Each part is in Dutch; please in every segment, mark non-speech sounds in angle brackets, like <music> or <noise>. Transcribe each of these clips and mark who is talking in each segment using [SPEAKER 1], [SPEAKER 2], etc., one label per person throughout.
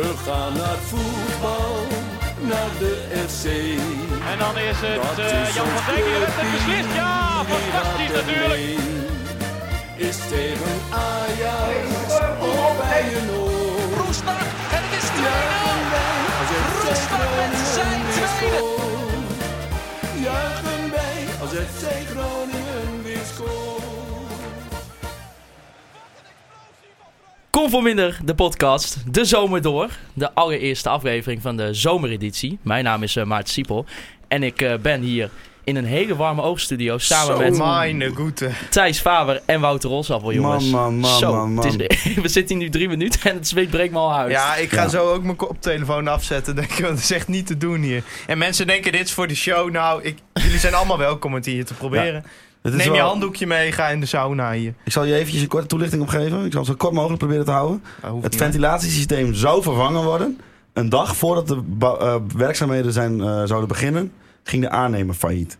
[SPEAKER 1] We gaan naar voetbal, naar de FC.
[SPEAKER 2] En dan is het
[SPEAKER 1] Dat
[SPEAKER 2] eh,
[SPEAKER 1] is
[SPEAKER 2] Jan
[SPEAKER 1] ons
[SPEAKER 2] van Dijk die de wedstrijd
[SPEAKER 1] clubteam,
[SPEAKER 2] beslist. Ja,
[SPEAKER 1] die
[SPEAKER 2] fantastisch
[SPEAKER 1] gaat er
[SPEAKER 2] natuurlijk.
[SPEAKER 1] mee. Is tegen Ajax of bij een oor.
[SPEAKER 3] Roesbach en het is 2-0.
[SPEAKER 1] Als het
[SPEAKER 3] Roesbach met zijn
[SPEAKER 1] Groningen
[SPEAKER 3] tweede.
[SPEAKER 1] scoort, Juichen wij als het Groningen weer scoort.
[SPEAKER 4] Kom voor minder, de podcast, de zomer door. De allereerste aflevering van de zomereditie. Mijn naam is eh, Maarten Siepel en ik eh, ben hier in een hele warme oogstudio samen met
[SPEAKER 5] Mijn goede.
[SPEAKER 4] Thijs Faber en Wouter Rossappel, jongens.
[SPEAKER 6] man, man,
[SPEAKER 4] Zo,
[SPEAKER 6] man, man.
[SPEAKER 4] het is- <laughs> we zitten hier nu drie minuten en het zweet breekt me al uit.
[SPEAKER 5] Ja, ik ga
[SPEAKER 6] Ja.
[SPEAKER 5] zo ook mijn koptelefoon afzetten. Denk ik, want het is echt niet te doen hier. En mensen denken, dit is voor de show. Nou, ik, jullie zijn allemaal welkom het hier te proberen.
[SPEAKER 6] Het is
[SPEAKER 5] Neem je
[SPEAKER 6] wel-
[SPEAKER 5] handdoekje mee, ga in de sauna hier.
[SPEAKER 6] Ik zal je eventjes een korte toelichting opgeven. Ik zal het zo kort mogelijk proberen te houden.
[SPEAKER 5] Dat hoeft
[SPEAKER 6] Het
[SPEAKER 5] niet, hè?
[SPEAKER 6] ventilatiesysteem zou vervangen worden. Een dag voordat de ba- eh, werkzaamheden zijn, eh, zouden beginnen, ging de aannemer failliet.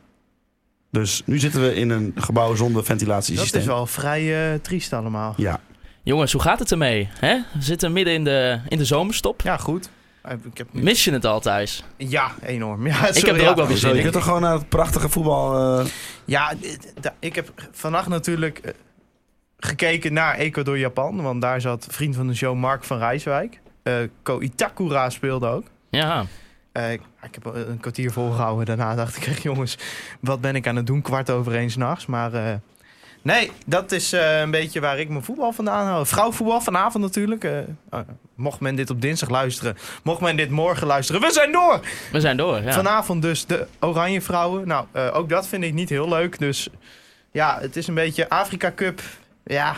[SPEAKER 6] Dus nu zitten we in een gebouw zonder ventilatiesysteem.
[SPEAKER 5] Dat is wel vrij eh, triest allemaal.
[SPEAKER 6] Ja,
[SPEAKER 4] Jongens, hoe gaat het ermee? hè? We zitten midden in de, in de zomerstop.
[SPEAKER 5] Ja, goed. Eh, Ik heb...
[SPEAKER 4] Mis je het al, Thijs?
[SPEAKER 5] Ja, enorm. Ja,
[SPEAKER 4] ik heb er ook wel weer
[SPEAKER 6] Zo,
[SPEAKER 4] zin
[SPEAKER 6] je
[SPEAKER 4] in.
[SPEAKER 6] kunt toch gewoon naar het prachtige voetbal... eh,
[SPEAKER 5] Ja, dit- da- ik heb vannacht natuurlijk eh, gekeken naar Ecuador-Japan. Want daar zat vriend van de show Mark van Rijswijk. Eh Ko Itakura speelde ook.
[SPEAKER 4] Ja,
[SPEAKER 5] Eh, ik ik heb een kwartier volgehouden. Daarna dacht ik <laughs> echt, jongens, wat ben ik aan het doen? Kwart over één s'nachts. Maar eh, nee, dat is eh, een beetje waar ik mijn voetbal vandaan hou. Vrouwvoetbal vanavond natuurlijk. Eh, eh, mocht men dit op dinsdag luisteren, mocht men dit morgen luisteren. We zijn door!
[SPEAKER 4] we zijn door. Ja.
[SPEAKER 5] Vanavond dus de Oranje Vrouwen. Nou, eh, ook dat vind ik niet heel leuk. Dus ja, het is een beetje Afrika Cup. Ja,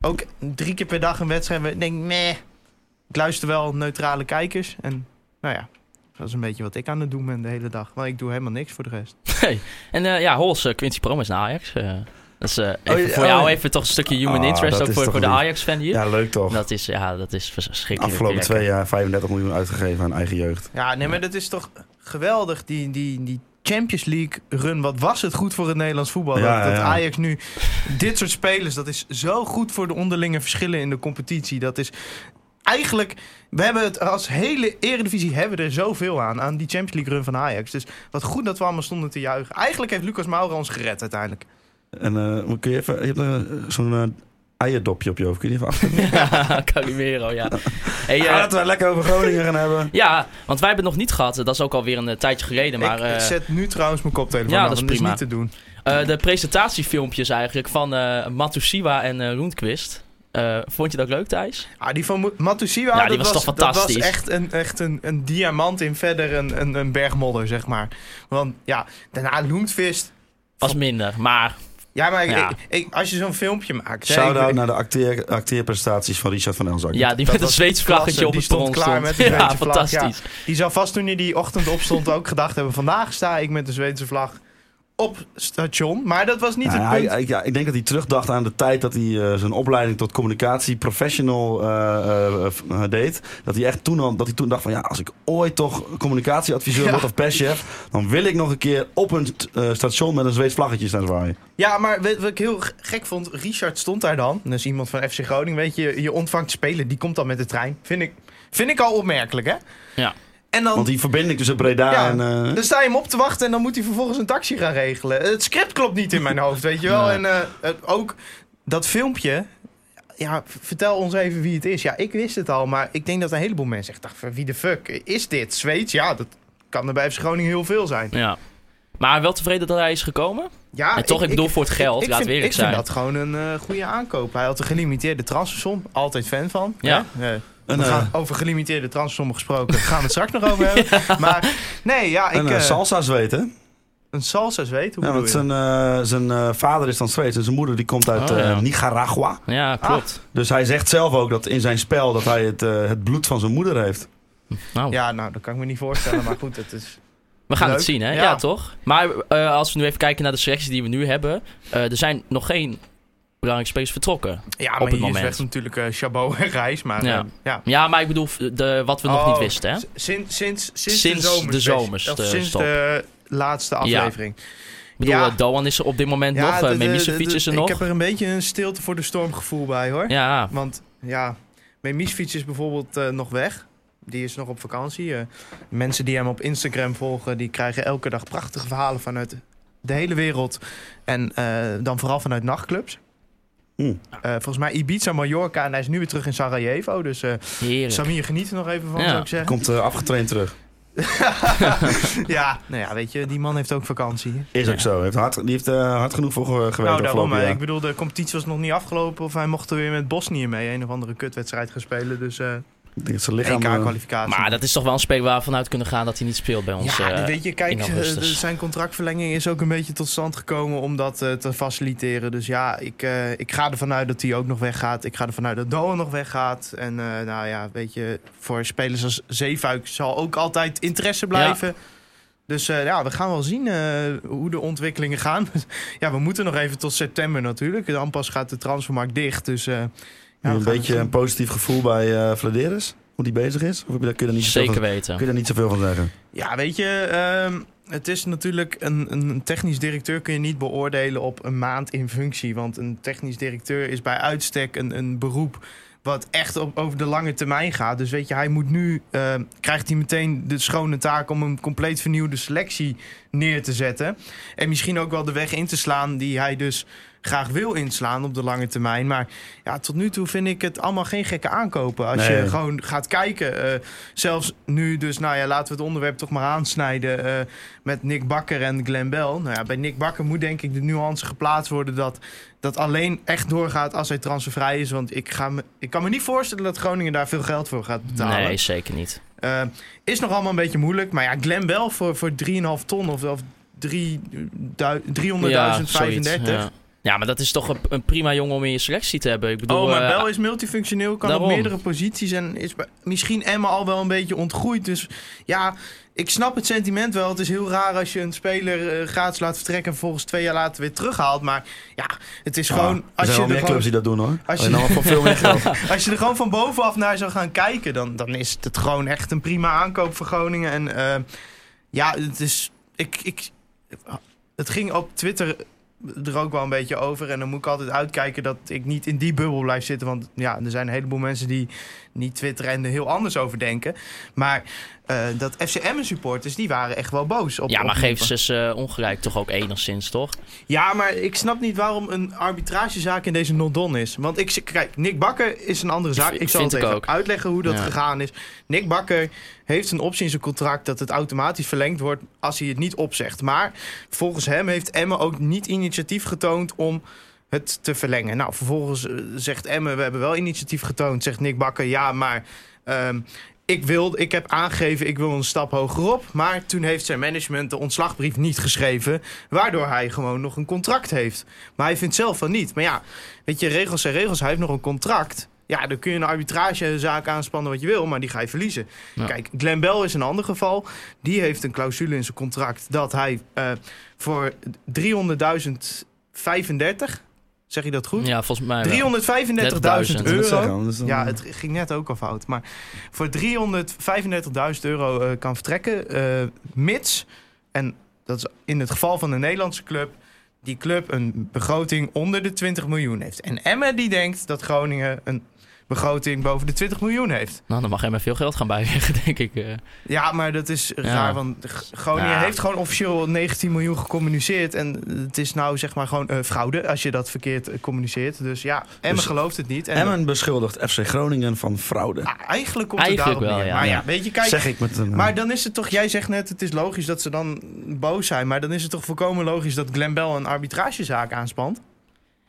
[SPEAKER 5] ook drie keer per dag een wedstrijd. Ik denk, meh. Ik luister wel neutrale kijkers. En nou ja, dat is een beetje wat ik aan het doen ben de hele dag. Want ik doe helemaal niks voor de rest.
[SPEAKER 4] En eh, ja, Hols, eh, Quincy Promes naar Ajax. eh. dat is eh, even
[SPEAKER 6] Oh, ja,
[SPEAKER 4] voor
[SPEAKER 6] oh,
[SPEAKER 4] jou
[SPEAKER 6] ja.
[SPEAKER 4] even toch een stukje human
[SPEAKER 6] Ah,
[SPEAKER 4] interest.
[SPEAKER 6] dat
[SPEAKER 4] Ook
[SPEAKER 6] is
[SPEAKER 4] voor,
[SPEAKER 6] toch
[SPEAKER 4] voor de
[SPEAKER 6] lief.
[SPEAKER 4] Ajax-fan hier.
[SPEAKER 6] ja, leuk toch.
[SPEAKER 4] Dat is, ja, dat is verschrikkelijk.
[SPEAKER 6] Afgelopen
[SPEAKER 4] lekker.
[SPEAKER 6] twee jaar 35 miljoen uitgegeven aan eigen jeugd.
[SPEAKER 5] Ja, nee, maar dat is toch geweldig, die, die, die Champions League run. Wat was het goed voor het Nederlands voetbal?
[SPEAKER 6] Ja,
[SPEAKER 5] dat, dat
[SPEAKER 6] ja.
[SPEAKER 5] Ajax nu dit soort spelers, dat is zo goed voor de onderlinge verschillen in de competitie. Dat is eigenlijk, we hebben het als hele eredivisie hebben we er zoveel aan, aan die Champions League run van Ajax. Dus wat goed dat we allemaal stonden te juichen. Eigenlijk heeft Lucas Moura ons gered uiteindelijk.
[SPEAKER 6] En eh, kun je even... Je hebt eh, zo'n eh, eierdopje op je hoofd. Kun je die even
[SPEAKER 4] <laughs>
[SPEAKER 6] af...
[SPEAKER 4] Ja, Calimero, ja. Hey, eh,
[SPEAKER 6] Ja, laten we het lekker over Groningen gaan hebben.
[SPEAKER 4] ja, want wij hebben het nog niet gehad. Dat is ook alweer een eh, tijdje geleden. Maar
[SPEAKER 5] ik, ik
[SPEAKER 4] eh,
[SPEAKER 5] zet nu trouwens mijn koptelefoon
[SPEAKER 4] ja,
[SPEAKER 5] aan,
[SPEAKER 4] dat is
[SPEAKER 5] want het is
[SPEAKER 4] prima.
[SPEAKER 5] niet te doen.
[SPEAKER 4] eh, de presentatiefilmpjes eigenlijk van eh Matusiwa en eh Roentquist. Eh, vond je dat leuk, Thijs?
[SPEAKER 5] Ah, die van Mo- Matusiwa,
[SPEAKER 4] Ja, die
[SPEAKER 5] dat
[SPEAKER 4] was toch fantastisch?
[SPEAKER 5] Dat was echt een, echt een, een diamant in verder een, een, een bergmodder, zeg maar. Want ja, daarna Loentvist.
[SPEAKER 4] Was minder, maar
[SPEAKER 5] Ja, maar ik-
[SPEAKER 4] Ja.
[SPEAKER 5] ik- ik- als je zo'n filmpje maakt... hè, ik-
[SPEAKER 6] Shout-out naar de acteer, acteerprestaties van Richard van Elzak.
[SPEAKER 4] ja, die met een
[SPEAKER 5] was
[SPEAKER 4] Zweeds
[SPEAKER 5] klasse,
[SPEAKER 4] vlaggetje op
[SPEAKER 5] die
[SPEAKER 4] het perron
[SPEAKER 5] stond klaar
[SPEAKER 4] <laughs>
[SPEAKER 5] met een
[SPEAKER 4] ja,
[SPEAKER 5] Zweedse vlag, ja.
[SPEAKER 4] fantastisch.
[SPEAKER 5] Die zou vast toen hij die ochtend opstond ook gedacht hebben... vandaag sta ik met de Zweedse vlag op station. Maar dat was niet
[SPEAKER 6] Nou,
[SPEAKER 5] het
[SPEAKER 6] hij-
[SPEAKER 5] punt.
[SPEAKER 6] hij- ja, ik denk dat hij terugdacht aan de tijd dat hij eh, zijn opleiding tot communicatieprofessional eh, eh, f- eh, deed. Dat hij echt toen, al, dat hij toen dacht van ja, als ik ooit toch communicatieadviseur
[SPEAKER 5] Ja.
[SPEAKER 6] word of perschef, dan wil ik nog een keer op een st- eh, station met een Zweeds vlaggetje staan zwaaien.
[SPEAKER 5] Ja, maar weet- wat ik heel g- gek vond, Richard stond daar dan. Dat is iemand van FC Groningen, weet je. Je ontvangt spelen, die komt dan met de trein. Vind ik, vind ik al opmerkelijk, hè?
[SPEAKER 4] Ja.
[SPEAKER 5] En dan...
[SPEAKER 6] Want die verbinding tussen Breda
[SPEAKER 5] Ja, Dus
[SPEAKER 6] en... eh,
[SPEAKER 5] Dan sta je hem op te wachten en dan moet hij vervolgens een taxi gaan regelen. Het script klopt niet in mijn hoofd, weet je wel.
[SPEAKER 4] Nee.
[SPEAKER 5] En eh, eh, ook dat filmpje. Ja, v- vertel ons even wie het is. Ja, ik wist het al, maar ik denk dat een heleboel mensen echt dachten... wie de fuck is dit? Zweeds? Ja, dat kan er bij FC Groningen heel veel zijn.
[SPEAKER 4] Ja. Maar wel tevreden dat hij is gekomen.
[SPEAKER 5] Ja,
[SPEAKER 4] en toch, ik, bedoel, voor het geld,
[SPEAKER 5] ik
[SPEAKER 4] laat
[SPEAKER 5] vind,
[SPEAKER 4] weer
[SPEAKER 5] ik
[SPEAKER 4] zijn.
[SPEAKER 5] vind dat gewoon een eh, goede aankoop. Hij had een gelimiteerde transfersom. Altijd fan van.
[SPEAKER 4] Ja.
[SPEAKER 5] hè? Eh,
[SPEAKER 6] Een,
[SPEAKER 5] we
[SPEAKER 6] eh,
[SPEAKER 5] gaan over gelimiteerde transfersommen gesproken. Daar gaan we het straks nog
[SPEAKER 4] <laughs>
[SPEAKER 5] over hebben. Maar nee, ja, ik,
[SPEAKER 6] en eh,
[SPEAKER 5] eh,
[SPEAKER 6] salsa zweet, hè?
[SPEAKER 5] een salsa zweet. Hoe
[SPEAKER 6] Ja,
[SPEAKER 5] bedoel
[SPEAKER 6] want
[SPEAKER 5] je?
[SPEAKER 6] zijn, eh, zijn eh, vader is dan Zweeds en zijn moeder die komt uit
[SPEAKER 4] Oh,
[SPEAKER 6] eh,
[SPEAKER 4] ja.
[SPEAKER 6] Nicaragua.
[SPEAKER 4] Ja,
[SPEAKER 5] Ah.
[SPEAKER 4] klopt.
[SPEAKER 6] Dus hij zegt zelf ook dat in zijn spel dat hij het, eh, het bloed van zijn moeder heeft. eh,
[SPEAKER 4] Nou,
[SPEAKER 5] Ja, nou, dat kan ik me niet voorstellen. maar goed, het is...
[SPEAKER 4] we gaan het
[SPEAKER 5] leuk.
[SPEAKER 4] zien, hè? Ja,
[SPEAKER 5] Ja.
[SPEAKER 4] toch? Maar eh, als we nu even kijken naar de selecties die we nu hebben. eh, er zijn nog geen belangrijke spelers vertrokken.
[SPEAKER 5] Ja,
[SPEAKER 4] Op
[SPEAKER 5] maar
[SPEAKER 4] het
[SPEAKER 5] hier
[SPEAKER 4] moment.
[SPEAKER 5] is echt natuurlijk eh, Chabot en Reis. Maar eh,
[SPEAKER 4] Ja.
[SPEAKER 5] ja.
[SPEAKER 4] Ja, maar ik bedoel de, wat we nog
[SPEAKER 5] Oh,
[SPEAKER 4] niet wisten, hè?
[SPEAKER 5] S- Sinds, sinds, sinds,
[SPEAKER 4] Sinds
[SPEAKER 5] de zomers.
[SPEAKER 4] de zomers,
[SPEAKER 5] of
[SPEAKER 4] eh,
[SPEAKER 5] sinds
[SPEAKER 4] stop.
[SPEAKER 5] de laatste aflevering.
[SPEAKER 4] Ik bedoel,
[SPEAKER 5] ja.
[SPEAKER 4] eh, Doan is er op dit moment nog.
[SPEAKER 5] de-
[SPEAKER 4] eh
[SPEAKER 5] de-
[SPEAKER 4] Memisevic
[SPEAKER 5] de-
[SPEAKER 4] is er
[SPEAKER 5] Ik
[SPEAKER 4] nog.
[SPEAKER 5] heb er een beetje een stilte voor de storm gevoel bij, hoor.
[SPEAKER 4] Ja,
[SPEAKER 5] Want, ja... Mijn Miesfiets is bijvoorbeeld eh, nog weg. Die is nog op vakantie. Eh, mensen die hem op Instagram volgen, die krijgen elke dag prachtige verhalen vanuit de hele wereld. En eh, dan vooral vanuit nachtclubs.
[SPEAKER 6] Mm.
[SPEAKER 5] Eh, volgens mij Ibiza, Mallorca en hij is nu weer terug in Sarajevo. Dus eh
[SPEAKER 4] Heerlijk.
[SPEAKER 5] Samir, geniet er nog even van,
[SPEAKER 4] Ja.
[SPEAKER 5] zou ik zeggen.
[SPEAKER 6] Komt eh, afgetraind terug.
[SPEAKER 5] Ja, nou ja, weet je, die man heeft ook vakantie.
[SPEAKER 6] Is ook zo. Heeft hard, die heeft eh, hard genoeg voor ge- gewerkt
[SPEAKER 5] nou, daarom.
[SPEAKER 6] afgelopen
[SPEAKER 5] hè.
[SPEAKER 6] jaar.
[SPEAKER 5] Ik bedoel, de competitie was nog niet afgelopen. Of hij mocht er weer met Bosnië mee een of andere kutwedstrijd gaan spelen. Dus eh
[SPEAKER 6] Ik denk dat zijn lichaam... eh,
[SPEAKER 5] EK-kwalificatie.
[SPEAKER 4] Maar dat is toch wel een speler waar we vanuit kunnen gaan dat hij niet speelt bij ons.
[SPEAKER 5] Ja,
[SPEAKER 4] eh,
[SPEAKER 5] weet je, kijk,
[SPEAKER 4] in
[SPEAKER 5] eh,
[SPEAKER 4] augustus.
[SPEAKER 5] de- zijn contractverlenging is ook een beetje tot stand gekomen om dat eh, te faciliteren. Dus ja, ik, eh, ik ga ervan uit dat hij ook nog weggaat. Ik ga ervan uit dat Doan nog weggaat. En eh, nou ja, weet je, voor spelers als Zeefuik zal ook altijd interesse blijven. Dus eh, ja, we gaan wel zien eh, hoe de ontwikkelingen gaan. <laughs> ja, we moeten nog even tot september natuurlijk. Dan pas gaat de transfermarkt dicht. Dus eh, ja, we
[SPEAKER 6] een
[SPEAKER 5] gaan het
[SPEAKER 6] beetje
[SPEAKER 5] zien.
[SPEAKER 6] een positief gevoel bij eh Vladeris? Hoe die bezig is? Of heb je daar, kun je daar niet zoveel
[SPEAKER 4] Zeker
[SPEAKER 6] van-
[SPEAKER 4] weten.
[SPEAKER 6] kun je daar niet zoveel van zeggen?
[SPEAKER 5] Ja, weet je, ehm, het is natuurlijk een, een technisch directeur kun je niet beoordelen op een maand in functie. Want een technisch directeur is bij uitstek een, een beroep wat echt op, over de lange termijn gaat. Dus weet je, hij moet nu, ehm, krijgt hij meteen de schone taak om een compleet vernieuwde selectie neer te zetten. En misschien ook wel de weg in te slaan die hij dus graag wil inslaan op de lange termijn. Maar ja, tot nu toe vind ik het allemaal geen gekke aankopen. Als
[SPEAKER 6] Nee.
[SPEAKER 5] je gewoon gaat kijken, eh, zelfs nu dus, nou ja, laten we het onderwerp toch maar aansnijden eh, met Nick Bakker en Glenn Bell. Nou ja, bij Nick Bakker moet denk ik de nuance geplaatst worden dat dat alleen echt doorgaat als hij transfervrij is. Want ik, ga me, ik kan me niet voorstellen dat Groningen daar veel geld voor gaat betalen.
[SPEAKER 4] Nee, zeker niet.
[SPEAKER 5] Eh, is nog allemaal een beetje moeilijk. Maar ja, Glenn Bell voor, voor 3,5 ton of, of drie- du- 300.035.
[SPEAKER 4] zoiets, ja. Ja, maar dat is toch een, een prima jongen om in je selectie te hebben. Ik bedoel,
[SPEAKER 5] Oh, maar
[SPEAKER 4] eh,
[SPEAKER 5] Bell is multifunctioneel, kan
[SPEAKER 4] daarom.
[SPEAKER 5] op meerdere posities en is bij- misschien Emma al wel een beetje ontgroeid. Dus ja, ik snap het sentiment wel. Het is heel raar als je een speler eh, gratis laat vertrekken en volgens twee jaar later weer terughaalt. Maar ja, het is
[SPEAKER 6] Ja,
[SPEAKER 5] gewoon...
[SPEAKER 6] Ah, er
[SPEAKER 5] Als je
[SPEAKER 6] zijn wel
[SPEAKER 5] er
[SPEAKER 6] meer
[SPEAKER 5] gewoon-
[SPEAKER 6] clubs die dat doen hoor.
[SPEAKER 5] als je-
[SPEAKER 6] Alleen allemaal voor veel meer geld.
[SPEAKER 5] <laughs> Als je er gewoon van bovenaf naar zou gaan kijken, dan, dan is het gewoon echt een prima aankoop voor Groningen. En eh, ja, het is. Ik, ik, het ging op Twitter er ook wel een beetje over. En dan moet ik altijd uitkijken dat ik niet in die bubbel blijf zitten. Want ja, er zijn een heleboel mensen die niet twitteren en er heel anders over denken. Maar eh, dat FCM-supporters, die waren echt wel boos. Op,
[SPEAKER 4] ja, maar
[SPEAKER 5] op-
[SPEAKER 4] geef ze eens, eh, ongelijk toch ook enigszins, toch?
[SPEAKER 5] ja, maar ik snap niet waarom een arbitragezaak in deze non-don is. Want ik, kijk, Nick Bakker is een andere zaak.
[SPEAKER 4] v-
[SPEAKER 5] Ik zal
[SPEAKER 4] vind
[SPEAKER 5] het
[SPEAKER 4] ik
[SPEAKER 5] even
[SPEAKER 4] ook.
[SPEAKER 5] uitleggen hoe dat
[SPEAKER 4] Ja.
[SPEAKER 5] gegaan is. Nick Bakker heeft een optie in zijn contract dat het automatisch verlengd wordt als hij het niet opzegt. Maar volgens hem heeft Emmen ook niet initiatief getoond om het te verlengen. Nou, vervolgens eh, zegt Emmen, we hebben wel initiatief getoond. Zegt Nick Bakker, ja, maar ehm, ik, wil, ik heb aangegeven, ik wil een stap hogerop. Maar toen heeft zijn management de ontslagbrief niet geschreven. Waardoor hij gewoon nog een contract heeft. Maar hij vindt zelf van niet. Maar ja, weet je, regels zijn regels. Hij heeft nog een contract. Ja, dan kun je een arbitragezaak aanspannen wat je wil, maar die ga je verliezen.
[SPEAKER 4] Ja.
[SPEAKER 5] Kijk, Glenn Bell is een ander geval. Die heeft een clausule in zijn contract dat hij eh, voor 300.035, zeg je dat goed?
[SPEAKER 4] Ja, volgens mij wel.
[SPEAKER 5] 335.000
[SPEAKER 6] Dat
[SPEAKER 5] euro.
[SPEAKER 6] zeggen, anders dan-
[SPEAKER 5] Ja, het ging net ook al fout. Maar voor 335.000 euro eh, kan vertrekken, eh, mits, en dat is in het geval van een Nederlandse club, die club een begroting onder de 20 miljoen heeft. En Emma die denkt dat Groningen een begroting boven de 20 miljoen heeft.
[SPEAKER 4] Nou, dan mag hij maar veel geld gaan bijleggen, <laughs> denk ik. eh.
[SPEAKER 5] Ja, maar dat is raar, want G- Groningen
[SPEAKER 4] Ja.
[SPEAKER 5] heeft gewoon officieel 19 miljoen gecommuniceerd. En het is nou zeg maar gewoon eh, fraude als je dat verkeerd eh, communiceert. Dus ja, Emma
[SPEAKER 6] Dus
[SPEAKER 5] gelooft het niet. En
[SPEAKER 6] Emmen beschuldigt FC Groningen van fraude.
[SPEAKER 5] Ah, eigenlijk komt het
[SPEAKER 4] Eigenlijk wel,
[SPEAKER 5] daarop neer.
[SPEAKER 4] ja.
[SPEAKER 5] Maar ja,
[SPEAKER 4] Ja.
[SPEAKER 5] weet je, kijk...
[SPEAKER 6] zeg ik met een... eh,
[SPEAKER 5] Maar dan is het toch, jij zegt net, het is logisch dat ze dan boos zijn. Maar dan is het toch volkomen logisch dat Glenn Bell een arbitragezaak aanspant?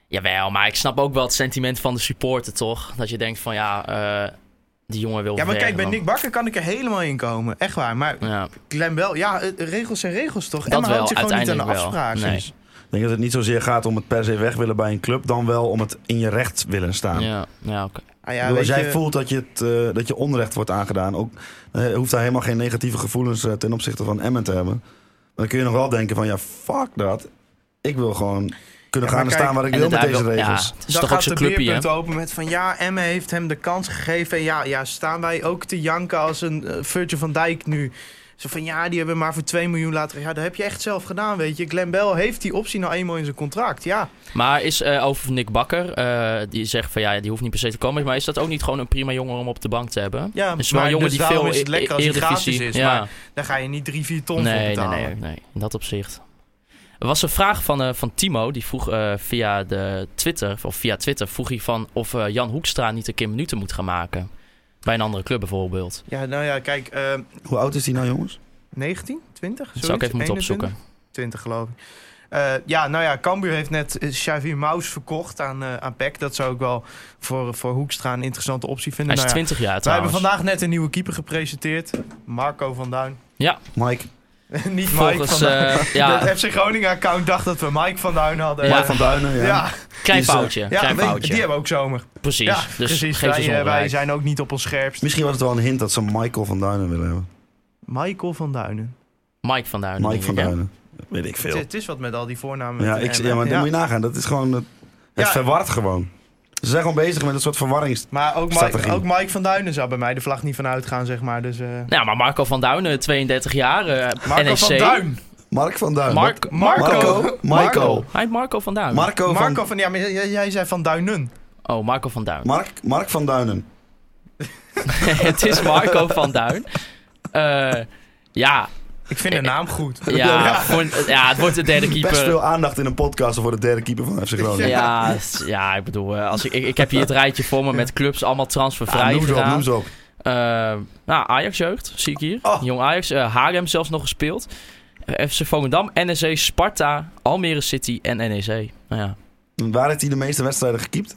[SPEAKER 4] Jawel, maar ik snap ook wel het sentiment van de supporter, toch? Dat je denkt van, ja, eh, die jongen wil
[SPEAKER 5] Ja, maar
[SPEAKER 4] weg,
[SPEAKER 5] kijk, bij
[SPEAKER 4] dan-
[SPEAKER 5] Nick Bakker kan ik er helemaal in komen. Echt waar. Maar
[SPEAKER 4] Ja,
[SPEAKER 5] Glenn Bell, ja, eh, regels zijn regels toch?
[SPEAKER 4] dat
[SPEAKER 5] Emma
[SPEAKER 4] wel,
[SPEAKER 5] houdt zich gewoon niet aan de
[SPEAKER 4] uiteindelijk wel.
[SPEAKER 5] afspraken.
[SPEAKER 4] Nee.
[SPEAKER 6] Ik denk dat het niet zozeer gaat om het per se weg willen bij een club, dan wel om het in je recht willen staan.
[SPEAKER 4] Ja, ja oké.
[SPEAKER 5] Ah,
[SPEAKER 6] Ik
[SPEAKER 5] ja,
[SPEAKER 6] bedoel, als
[SPEAKER 5] weet
[SPEAKER 6] jij
[SPEAKER 5] je-
[SPEAKER 6] voelt dat je, het, eh, dat je onrecht wordt aangedaan, ook, eh, hoeft daar helemaal geen negatieve gevoelens eh, ten opzichte van Emmen te hebben. Maar dan kun je nog wel denken van ja, fuck dat. Ik wil gewoon kunnen
[SPEAKER 5] Ja,
[SPEAKER 6] gaan
[SPEAKER 5] maar
[SPEAKER 6] en
[SPEAKER 5] kijk,
[SPEAKER 6] staan waar ik
[SPEAKER 4] En
[SPEAKER 6] wil met
[SPEAKER 4] daar
[SPEAKER 6] deze
[SPEAKER 4] wil-
[SPEAKER 6] regels.
[SPEAKER 4] Ja, het is
[SPEAKER 5] dan
[SPEAKER 4] toch ook
[SPEAKER 5] gaat
[SPEAKER 4] zijn
[SPEAKER 5] de
[SPEAKER 4] clubje, hè?
[SPEAKER 5] beerpunt open met van ja, Emme heeft hem de kans gegeven. En ja, ja staan wij ook te janken als een eh, Virgil van Dijk nu Zo van ja, die hebben maar voor 2 miljoen later. Ja, dat heb je echt zelf gedaan, weet je. Glenn Bell heeft die optie nou eenmaal in zijn contract. Ja,
[SPEAKER 4] Maar is eh, over Nick Bakker, eh, die zegt van ja, die hoeft niet per se te komen. Maar is dat ook niet gewoon een prima jongen om op de bank te hebben?
[SPEAKER 5] ja
[SPEAKER 4] Is wel een jongen
[SPEAKER 5] dus
[SPEAKER 4] die
[SPEAKER 5] daarom
[SPEAKER 4] veel
[SPEAKER 5] is het
[SPEAKER 4] e-
[SPEAKER 5] lekker als het gratis
[SPEAKER 4] Eredivisie-
[SPEAKER 5] is.
[SPEAKER 4] ja.
[SPEAKER 5] Maar daar ga je niet 3, 4 ton voor
[SPEAKER 4] nee, nee,
[SPEAKER 5] betalen.
[SPEAKER 4] nee, nee, in dat opzicht. Er was een vraag van, eh, van Timo, die vroeg eh, via, de Twitter, of via Twitter vroeg hij van of eh, Jan Hoekstra niet een keer minuten moet gaan maken. Bij een andere club bijvoorbeeld.
[SPEAKER 5] Ja, nou ja, kijk, eh,
[SPEAKER 6] Hoe oud is die nou, jongens?
[SPEAKER 5] 19, 20?
[SPEAKER 4] Dat zou ik even moeten opzoeken.
[SPEAKER 5] 20 geloof ik. Eh, ja, nou ja, Cambuur heeft net eh, Xavier Maus verkocht aan, eh aan PEC. Dat zou ik wel voor, voor Hoekstra een interessante optie
[SPEAKER 4] Hij
[SPEAKER 5] vinden.
[SPEAKER 4] is
[SPEAKER 5] Nou ja,
[SPEAKER 4] 20 jaar
[SPEAKER 5] we hebben
[SPEAKER 4] trouwens.
[SPEAKER 5] vandaag net een nieuwe keeper gepresenteerd. Marco van Duin. <laughs>
[SPEAKER 6] Mike.
[SPEAKER 5] Niet Mike
[SPEAKER 4] Volgens,
[SPEAKER 5] van <laughs> Duin.
[SPEAKER 4] eh, <laughs> ja,
[SPEAKER 5] Het FC Groningen-account dacht dat we Mike van Duin hadden.
[SPEAKER 4] Ja.
[SPEAKER 6] Mike van Duinen, ja.
[SPEAKER 5] ja. ja,
[SPEAKER 4] klein
[SPEAKER 6] is, eh,
[SPEAKER 4] foutje, klein
[SPEAKER 5] weet-
[SPEAKER 4] foutje.
[SPEAKER 5] die hebben ook zomer.
[SPEAKER 4] Precies,
[SPEAKER 5] ja,
[SPEAKER 4] dus
[SPEAKER 5] precies.
[SPEAKER 4] geef
[SPEAKER 5] Wij,
[SPEAKER 4] ons
[SPEAKER 5] eh, wij
[SPEAKER 4] onbereik.
[SPEAKER 5] zijn ook niet op ons scherpst.
[SPEAKER 6] Misschien was het wel een hint dat ze Michael van Duinen willen hebben.
[SPEAKER 5] Michael van Duinen.
[SPEAKER 4] Mike van Duinen.
[SPEAKER 6] Mike van
[SPEAKER 4] denk ik, hè?
[SPEAKER 6] Duinen. Weet ik
[SPEAKER 5] Het,
[SPEAKER 6] veel.
[SPEAKER 5] het is wat met al die voornamen.
[SPEAKER 6] Ja,
[SPEAKER 5] met
[SPEAKER 6] ik,
[SPEAKER 5] een
[SPEAKER 6] ja maar
[SPEAKER 5] M,
[SPEAKER 6] dat moet je nagaan. Dat is gewoon... Het, het
[SPEAKER 5] Ja.
[SPEAKER 6] verwart gewoon. Ze zijn gewoon bezig met een soort verwarrings...
[SPEAKER 5] Maar ook Mike,
[SPEAKER 6] Strategie.
[SPEAKER 5] ook Mike van Duinen zou bij mij de vlag niet van uitgaan, zeg maar. Dus, eh,
[SPEAKER 4] Nou, maar Marco van Duinen, 32 jaar, eh
[SPEAKER 5] Marco
[SPEAKER 4] NEC.
[SPEAKER 5] van
[SPEAKER 6] Oh,
[SPEAKER 5] Duin.
[SPEAKER 6] Mark van Duinen.
[SPEAKER 4] Mark-
[SPEAKER 6] Wat-
[SPEAKER 5] Marco.
[SPEAKER 6] Marco. Marco.
[SPEAKER 4] Hij heet Marco van Duinen.
[SPEAKER 6] Marco van...
[SPEAKER 5] Marco van, ja, maar jij, jij zei van Duinen.
[SPEAKER 4] oh, Marco van Duinen.
[SPEAKER 6] Mark, Mark van Duinen.
[SPEAKER 4] <laughs> het is Marco van Duin. Eh, ja,
[SPEAKER 5] Ik vind de
[SPEAKER 4] Eh,
[SPEAKER 5] naam goed.
[SPEAKER 4] ja, voor- ja, het wordt de derde
[SPEAKER 6] Best
[SPEAKER 4] keeper.
[SPEAKER 6] veel aandacht in een podcast voor de derde keeper van FC Groningen.
[SPEAKER 4] Ja, het- ja, ik bedoel, eh, als ik, ik, ik heb hier het rijtje voor me met clubs, allemaal
[SPEAKER 6] Ja,
[SPEAKER 4] transfervrij
[SPEAKER 6] Ah, noem ze op,
[SPEAKER 4] gedaan.
[SPEAKER 6] noem ze op.
[SPEAKER 4] Eh, nou, Ajax-jeugd, zie ik hier.
[SPEAKER 6] Oh.
[SPEAKER 4] Jong Ajax, eh Haarlem zelfs nog gespeeld. Eh, FC Volendam, NEC, Sparta, Almere City en NEC. Nou ja.
[SPEAKER 6] Waar heeft hij de meeste wedstrijden gekiept?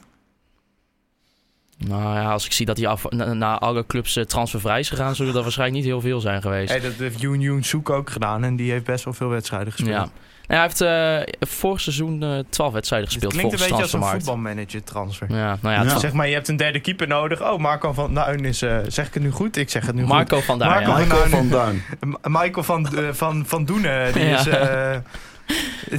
[SPEAKER 4] Nou ja, als ik zie dat hij af, na, na alle clubs eh, transfervrij is gegaan, zullen er waarschijnlijk niet heel veel zijn geweest.
[SPEAKER 5] Hey, dat heeft Yoon Yoon Soek ook gedaan en die heeft best wel veel wedstrijden gespeeld.
[SPEAKER 4] Ja. Nou, hij heeft eh, vorig seizoen eh 12 wedstrijden
[SPEAKER 5] Het
[SPEAKER 4] gespeeld
[SPEAKER 5] klinkt een
[SPEAKER 4] volgens
[SPEAKER 5] beetje als een
[SPEAKER 4] transfermarkt.
[SPEAKER 5] voetbalmanager transfer.
[SPEAKER 4] Ja, nou ja, het
[SPEAKER 6] Ja.
[SPEAKER 4] was
[SPEAKER 5] Zeg maar, je hebt een derde keeper nodig. Oh, Marco van Duin is... eh, zeg ik het nu goed? Ik zeg het nu goed.
[SPEAKER 4] Marco van Duin.
[SPEAKER 5] Marco
[SPEAKER 4] ja.
[SPEAKER 5] van
[SPEAKER 6] Michael
[SPEAKER 5] Duinen.
[SPEAKER 6] van
[SPEAKER 5] <laughs>
[SPEAKER 6] Duin.
[SPEAKER 5] M- Michael van, eh, van, van Doenen, die,
[SPEAKER 4] Ja.
[SPEAKER 5] is, eh,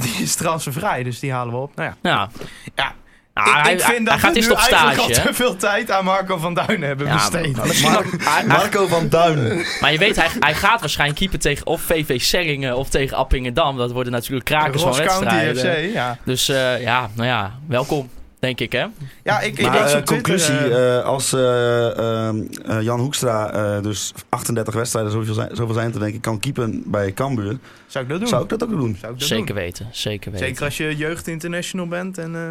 [SPEAKER 5] die is transfervrij, dus die halen we op. Nou ja.
[SPEAKER 4] Ja.
[SPEAKER 5] Ja.
[SPEAKER 4] Ah,
[SPEAKER 5] ik,
[SPEAKER 4] hij,
[SPEAKER 5] ik vind dat
[SPEAKER 4] hij gaat
[SPEAKER 5] we
[SPEAKER 4] eerst
[SPEAKER 5] nu
[SPEAKER 4] op stage.
[SPEAKER 5] eigenlijk al
[SPEAKER 4] hè?
[SPEAKER 5] te veel tijd aan Marco van Duin hebben
[SPEAKER 4] Ja,
[SPEAKER 5] besteed. <laughs>
[SPEAKER 6] Mar- Marco van Duin.
[SPEAKER 4] Maar je weet, hij, hij gaat waarschijnlijk keeper tegen of VV Serringen of tegen Appingedam. Dat worden natuurlijk krakers van
[SPEAKER 5] Ross County
[SPEAKER 4] wedstrijden.
[SPEAKER 5] FC, ja.
[SPEAKER 4] Dus eh, ja, nou ja, welkom, denk ik hè.
[SPEAKER 5] Ja, ik, ik
[SPEAKER 6] Maar
[SPEAKER 5] las
[SPEAKER 6] eh,
[SPEAKER 5] op Twitter,
[SPEAKER 6] conclusie,
[SPEAKER 5] eh,
[SPEAKER 6] eh, als eh, ehm, eh, Jan Hoekstra eh, dus 38 wedstrijden, zoveel zijn, zoveel zijn te denken, kan keepen bij Cambuur,
[SPEAKER 5] zou ik dat doen?
[SPEAKER 6] zou ik dat ook doen.
[SPEAKER 5] Zou ik dat
[SPEAKER 4] Zeker
[SPEAKER 5] doen?
[SPEAKER 4] weten, zeker weten.
[SPEAKER 5] Zeker als je jeugd international bent en eh,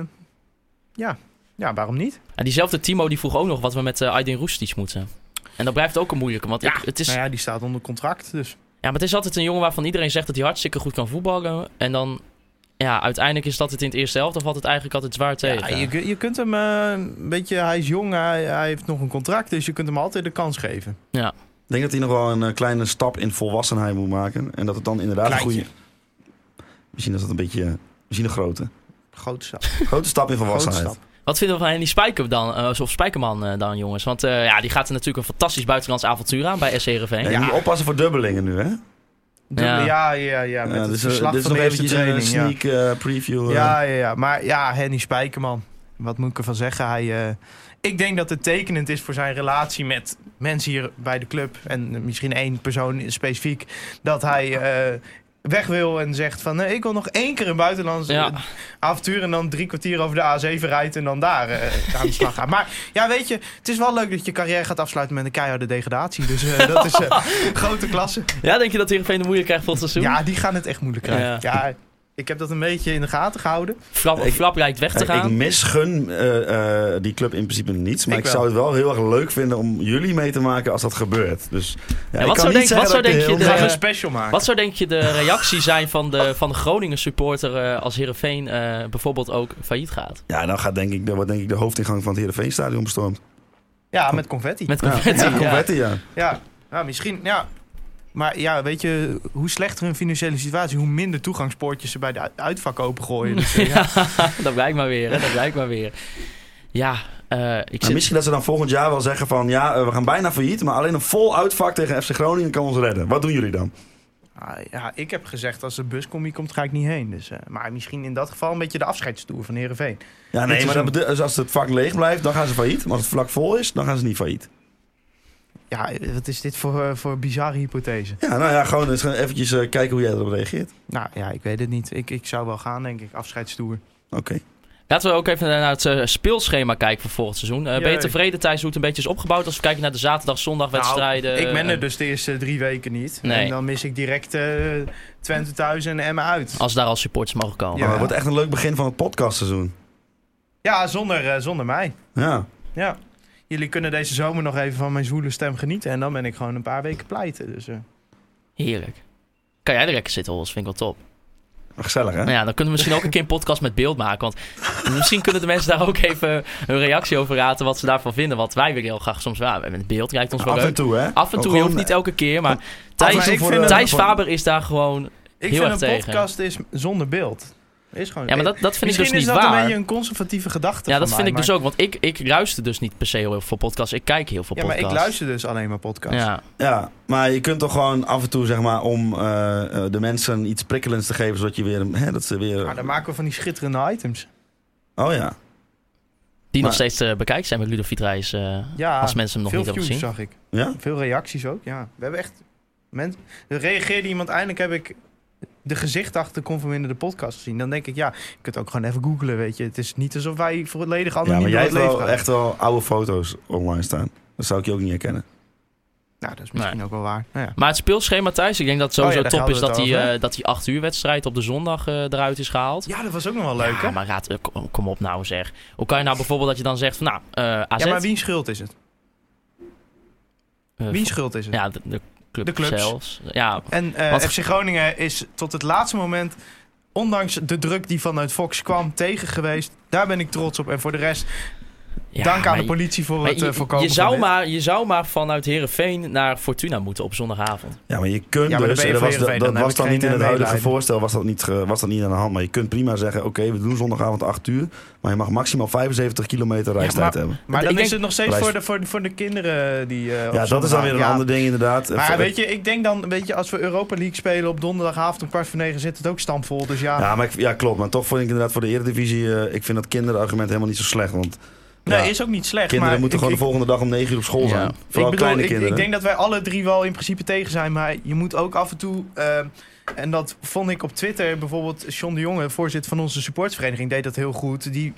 [SPEAKER 5] ja. ja, waarom niet?
[SPEAKER 4] En diezelfde Timo die vroeg ook nog wat we met eh, Aydin Roestic moeten. En dat blijft ook een moeilijke, want ik- het is,
[SPEAKER 5] Nou ja, die staat onder contract, dus
[SPEAKER 4] Ja, maar het is altijd een jongen waarvan iedereen zegt dat hij hartstikke goed kan voetballen. En dan, ja, uiteindelijk is dat het in het eerste helft of valt het eigenlijk altijd zwaar tegen.
[SPEAKER 5] ja, je, kun- je kunt hem eh, een beetje, hij is jong, hij, hij heeft nog een contract, dus je kunt hem altijd de kans geven.
[SPEAKER 6] Ik denk dat hij nog wel een eh, kleine stap in volwassenheid moet maken. En dat het dan inderdaad een
[SPEAKER 5] Kleintje.
[SPEAKER 6] goede... Misschien is dat een beetje... eh, Misschien een grote.
[SPEAKER 5] Grote stap.
[SPEAKER 6] Grote stap in
[SPEAKER 5] Grote
[SPEAKER 6] volwassenheid.
[SPEAKER 5] stap.
[SPEAKER 4] Wat vinden we van Henny Spijker dan, eh, of Spijkerman eh, dan, jongens? Want eh, ja, die gaat er natuurlijk een fantastisch buitenlands avontuur aan bij SCRV.
[SPEAKER 6] Ja, je moet oppassen voor dubbelingen nu, hè?
[SPEAKER 5] Dubbele- Ja, ja, ja, met
[SPEAKER 6] Ja,
[SPEAKER 5] het
[SPEAKER 6] dus, eh,
[SPEAKER 5] verslag
[SPEAKER 6] dit is
[SPEAKER 5] van
[SPEAKER 6] nog
[SPEAKER 5] de eerste
[SPEAKER 6] eventjes een eh,
[SPEAKER 5] training. ja.
[SPEAKER 6] sneak eh, preview. eh.
[SPEAKER 5] Ja, ja, ja. Maar ja, Henny Spijkerman. Wat moet ik ervan zeggen? Hij, eh, ik denk dat het tekenend is voor zijn relatie met mensen hier bij de club. En misschien één persoon specifiek. Dat hij eh, weg wil en zegt van... nee, ik wil nog één keer een buitenlands
[SPEAKER 4] Ja.
[SPEAKER 5] eh, avontuur... en dan drie kwartier over de A7 rijdt en dan daar eh, aan de slag gaan. Maar ja, weet je, het is wel leuk dat je carrière gaat afsluiten... met een keiharde degradatie. Dus eh, dat is eh, grote klasse.
[SPEAKER 4] Ja, denk je dat Heerenveen de moeilijk krijgt volgend seizoen?
[SPEAKER 5] Ja, die gaan het echt moeilijk krijgen. ja, ik heb dat een beetje in de gaten gehouden.
[SPEAKER 4] Flap,
[SPEAKER 6] Ik-
[SPEAKER 4] Flap lijkt weg te
[SPEAKER 6] Eh, Ik, ik
[SPEAKER 4] gaan.
[SPEAKER 6] misgun eh, eh, die club in principe niets. Maar
[SPEAKER 5] Ik
[SPEAKER 6] ik,
[SPEAKER 5] wel.
[SPEAKER 6] zou het wel heel erg leuk vinden om jullie mee te maken als dat gebeurt. Dus ja,
[SPEAKER 4] wat
[SPEAKER 6] ik kan
[SPEAKER 4] zou
[SPEAKER 6] niet
[SPEAKER 4] denk-
[SPEAKER 6] zeggen
[SPEAKER 4] wat
[SPEAKER 6] dat
[SPEAKER 4] zou
[SPEAKER 6] ik
[SPEAKER 4] denk je
[SPEAKER 6] heel
[SPEAKER 4] de-
[SPEAKER 5] We
[SPEAKER 6] graag-
[SPEAKER 5] gaan een
[SPEAKER 4] Eh,
[SPEAKER 5] special maken.
[SPEAKER 4] Wat zou denk je de reactie zijn van de, van de Groningen supporter eh, als Heerenveen eh, bijvoorbeeld ook failliet gaat?
[SPEAKER 6] Ja, dan gaat denk ik, dan wordt denk ik de hoofdingang van het Heerenveenstadion bestormd.
[SPEAKER 5] Ja, met confetti.
[SPEAKER 4] Met
[SPEAKER 6] Ja,
[SPEAKER 4] confetti.
[SPEAKER 6] ja,
[SPEAKER 4] ja.
[SPEAKER 6] confetti, ja. Nou,
[SPEAKER 5] Ja. ja, misschien, ja. Maar ja, weet je, hoe slechter hun financiële situatie, hoe minder toegangspoortjes ze bij de u- uitvak opengooien. Dus, eh, ja.
[SPEAKER 4] dat blijkt maar weer, hè, dat blijkt maar weer. Ja, eh, ik
[SPEAKER 6] Nou,
[SPEAKER 4] zit...
[SPEAKER 6] misschien dat ze dan volgend jaar wel zeggen van... ja, eh, we gaan bijna failliet, maar alleen een vol uitvak tegen FC Groningen kan ons redden. Wat doen jullie dan?
[SPEAKER 5] Ah, ja, ik heb gezegd, als de buscommie komt, ga ik niet heen. Dus, eh, maar misschien in dat geval een beetje de afscheidstoer van Heerenveen.
[SPEAKER 6] Ja, nee,
[SPEAKER 5] Dit seizoen.
[SPEAKER 6] maar dat bede- dus als het vak leeg blijft, dan gaan ze failliet. Maar als het vlak vol is, dan gaan ze niet failliet.
[SPEAKER 5] Ja, wat is dit voor, eh, voor bizarre hypothese?
[SPEAKER 6] Ja, nou ja, gewoon eens gaan eventjes eh, kijken hoe jij erop reageert.
[SPEAKER 5] Nou ja, ik weet het niet. Ik, ik zou wel gaan, denk ik. Afscheidstoer.
[SPEAKER 6] Oké.
[SPEAKER 4] Laten we ook even naar het eh, speelschema kijken voor volgend seizoen. Eh, ben je
[SPEAKER 5] Jee.
[SPEAKER 4] tevreden tijdens hoe het een beetje is opgebouwd? Als we kijken naar de zaterdag-zondag-wedstrijden.
[SPEAKER 5] Nou, ik ben er
[SPEAKER 4] eh,
[SPEAKER 5] dus de eerste drie weken niet.
[SPEAKER 4] Nee.
[SPEAKER 5] En dan mis ik direct eh, Twente thuis en Emmen uit.
[SPEAKER 4] Als daar al supporters mogen komen.
[SPEAKER 5] Ja.
[SPEAKER 6] Maar het wordt echt een leuk begin van het podcastseizoen.
[SPEAKER 5] Ja, zonder, eh, zonder mij.
[SPEAKER 6] Ja.
[SPEAKER 5] Ja. Jullie kunnen deze zomer nog even van mijn zwoele stem genieten. En dan ben ik gewoon een paar weken pleiten. Dus, eh.
[SPEAKER 4] Heerlijk. Kan jij er lekker zitten, Hols? Vind ik wel top.
[SPEAKER 6] Gezellig, hè?
[SPEAKER 4] Nou ja, dan kunnen we misschien ook een keer een podcast met beeld maken. Want misschien kunnen de mensen daar ook even hun reactie over raten. Wat ze daarvan vinden. Wat wij weer heel graag soms... Ja, met beeld lijkt ons wel
[SPEAKER 6] Af en
[SPEAKER 4] leuk.
[SPEAKER 6] toe, hè?
[SPEAKER 4] Af en toe, je
[SPEAKER 6] Gewoon-
[SPEAKER 4] hoeft
[SPEAKER 5] eh,
[SPEAKER 4] niet elke keer. Maar
[SPEAKER 5] maar
[SPEAKER 4] Thijs,
[SPEAKER 5] ik vind het-
[SPEAKER 4] Thijs Faber is daar gewoon...
[SPEAKER 5] Ik
[SPEAKER 4] Heel
[SPEAKER 5] vind
[SPEAKER 4] erg
[SPEAKER 5] een
[SPEAKER 4] tegen.
[SPEAKER 5] podcast is zonder beeld. Is gewoon,
[SPEAKER 4] Ja, maar dat, dat vind ik
[SPEAKER 5] Misschien
[SPEAKER 4] dus niet
[SPEAKER 5] is dat een
[SPEAKER 4] waar.
[SPEAKER 5] beetje een conservatieve gedachte
[SPEAKER 4] Ja,
[SPEAKER 5] van
[SPEAKER 4] dat
[SPEAKER 5] mij,
[SPEAKER 4] vind ik
[SPEAKER 5] maar-
[SPEAKER 4] dus ook. Want ik, ik luister dus niet per se heel veel podcasts. Ik kijk heel veel
[SPEAKER 5] Ja, maar
[SPEAKER 4] podcasts.
[SPEAKER 5] ik luister dus alleen maar podcasts.
[SPEAKER 4] Ja.
[SPEAKER 6] Ja, maar je kunt toch gewoon af en toe, zeg maar, om eh, eh, de mensen iets prikkelends te geven, zodat je weer... Hè, dat ze weer...
[SPEAKER 5] Maar dan maken we van die schitterende items.
[SPEAKER 6] Oh ja.
[SPEAKER 4] Die nog
[SPEAKER 6] Maar-
[SPEAKER 4] steeds eh, bekijkt zijn met Ludovic Reis. eh,
[SPEAKER 5] Ja,
[SPEAKER 4] als mensen hem nog
[SPEAKER 5] veel
[SPEAKER 4] niet hebben
[SPEAKER 5] views
[SPEAKER 4] gezien.
[SPEAKER 5] zag ik.
[SPEAKER 6] Ja?
[SPEAKER 5] Veel reacties ook, ja. We hebben echt... Mensen, er reageerde iemand, eindelijk heb ik de gezicht achter Kom van Minder de podcast gezien. Dan denk ik, ja, je kunt ook gewoon even googlen, weet je. Het is niet alsof wij volledig
[SPEAKER 6] Ja,
[SPEAKER 5] anoniem
[SPEAKER 6] maar
[SPEAKER 5] door
[SPEAKER 6] jij
[SPEAKER 5] het
[SPEAKER 6] hebt
[SPEAKER 5] leven
[SPEAKER 6] wel
[SPEAKER 5] gaan.
[SPEAKER 6] echt wel oude foto's online staan. Dat zou ik je ook niet herkennen.
[SPEAKER 5] Nou, dat is misschien
[SPEAKER 4] Nee.
[SPEAKER 5] ook wel waar. Nou ja.
[SPEAKER 4] Maar het speelschema thuis, ik denk dat het sowieso
[SPEAKER 5] Oh ja, daar
[SPEAKER 4] top is dat
[SPEAKER 5] hadden we
[SPEAKER 4] die,
[SPEAKER 5] het over,
[SPEAKER 4] eh, dat die 8 uur wedstrijd op de zondag eh, eruit is gehaald.
[SPEAKER 5] ja, dat was ook nog wel leuk,
[SPEAKER 4] Ja,
[SPEAKER 5] hè?
[SPEAKER 4] maar raad, eh, kom, kom op nou zeg. Hoe kan je nou bijvoorbeeld dat je dan zegt van nou, eh AZ...
[SPEAKER 5] Ja, maar wiens schuld is het?
[SPEAKER 4] eh,
[SPEAKER 5] Wiens schuld is het?
[SPEAKER 4] Ja, de, de club
[SPEAKER 5] De clubs.
[SPEAKER 4] zelfs. Ja,
[SPEAKER 5] En eh,
[SPEAKER 4] Wat-
[SPEAKER 5] FC Groningen is tot het laatste moment, ondanks de druk die vanuit Fox kwam, tegen geweest. Daar ben ik trots op. En voor de rest,
[SPEAKER 4] ja,
[SPEAKER 5] dank aan
[SPEAKER 4] maar
[SPEAKER 5] de
[SPEAKER 4] je-
[SPEAKER 5] politie voor
[SPEAKER 4] maar
[SPEAKER 5] het eh,
[SPEAKER 4] je-
[SPEAKER 5] voorkomen
[SPEAKER 4] je, zou
[SPEAKER 5] van dit.
[SPEAKER 4] maar, je zou maar vanuit Herenveen naar Fortuna moeten op zondagavond.
[SPEAKER 6] Ja, maar je kunt
[SPEAKER 5] Ja, maar dan
[SPEAKER 6] dus,
[SPEAKER 5] ben je van
[SPEAKER 6] en dat was, dat,
[SPEAKER 5] Heerenveen,
[SPEAKER 6] dat
[SPEAKER 5] dan
[SPEAKER 6] was
[SPEAKER 5] heb ik
[SPEAKER 6] dan niet
[SPEAKER 5] geen,
[SPEAKER 6] in het
[SPEAKER 5] eh,
[SPEAKER 6] huidige
[SPEAKER 5] medelijden.
[SPEAKER 6] voorstel, was dat, niet, ge- was dat niet aan de hand. Maar je kunt prima zeggen, oké, we doen zondagavond 8 uur, maar je mag maximaal 75 kilometer reistijd
[SPEAKER 5] maar-
[SPEAKER 6] hebben.
[SPEAKER 5] Maar dan
[SPEAKER 4] Ik
[SPEAKER 5] is
[SPEAKER 4] denk-
[SPEAKER 5] het nog steeds
[SPEAKER 6] Wijs-
[SPEAKER 5] voor de, voor, de, voor de kinderen die... eh, op
[SPEAKER 6] Ja, dat is dan
[SPEAKER 5] zondag-
[SPEAKER 6] weer een
[SPEAKER 5] Ja,
[SPEAKER 6] ander ding inderdaad.
[SPEAKER 5] Maar
[SPEAKER 6] Even-
[SPEAKER 5] weet je, ik denk dan, weet je, als we Europa League spelen op donderdagavond om kwart voor negen zit het ook stampvol. Dus ja,
[SPEAKER 6] ja, maar ik, ja, klopt. Maar toch vond ik inderdaad voor de Eredivisie, eh, ik vind dat kinderargument helemaal niet zo slecht. Want
[SPEAKER 5] nee,
[SPEAKER 6] ja,
[SPEAKER 5] is ook niet slecht.
[SPEAKER 6] kinderen
[SPEAKER 5] maar
[SPEAKER 6] moeten
[SPEAKER 5] ik,
[SPEAKER 6] gewoon
[SPEAKER 5] ik-
[SPEAKER 6] de volgende dag om 9 uur op school
[SPEAKER 4] Ja.
[SPEAKER 6] zijn. Vooral
[SPEAKER 5] ik bedoel,
[SPEAKER 6] kleine
[SPEAKER 5] ik,
[SPEAKER 6] kinderen.
[SPEAKER 5] ik denk dat wij alle drie wel in principe tegen zijn. Maar je moet ook af en toe. eh, en dat vond ik op Twitter bijvoorbeeld. John de Jonge, voorzitter van onze supportvereniging, deed dat heel goed. Die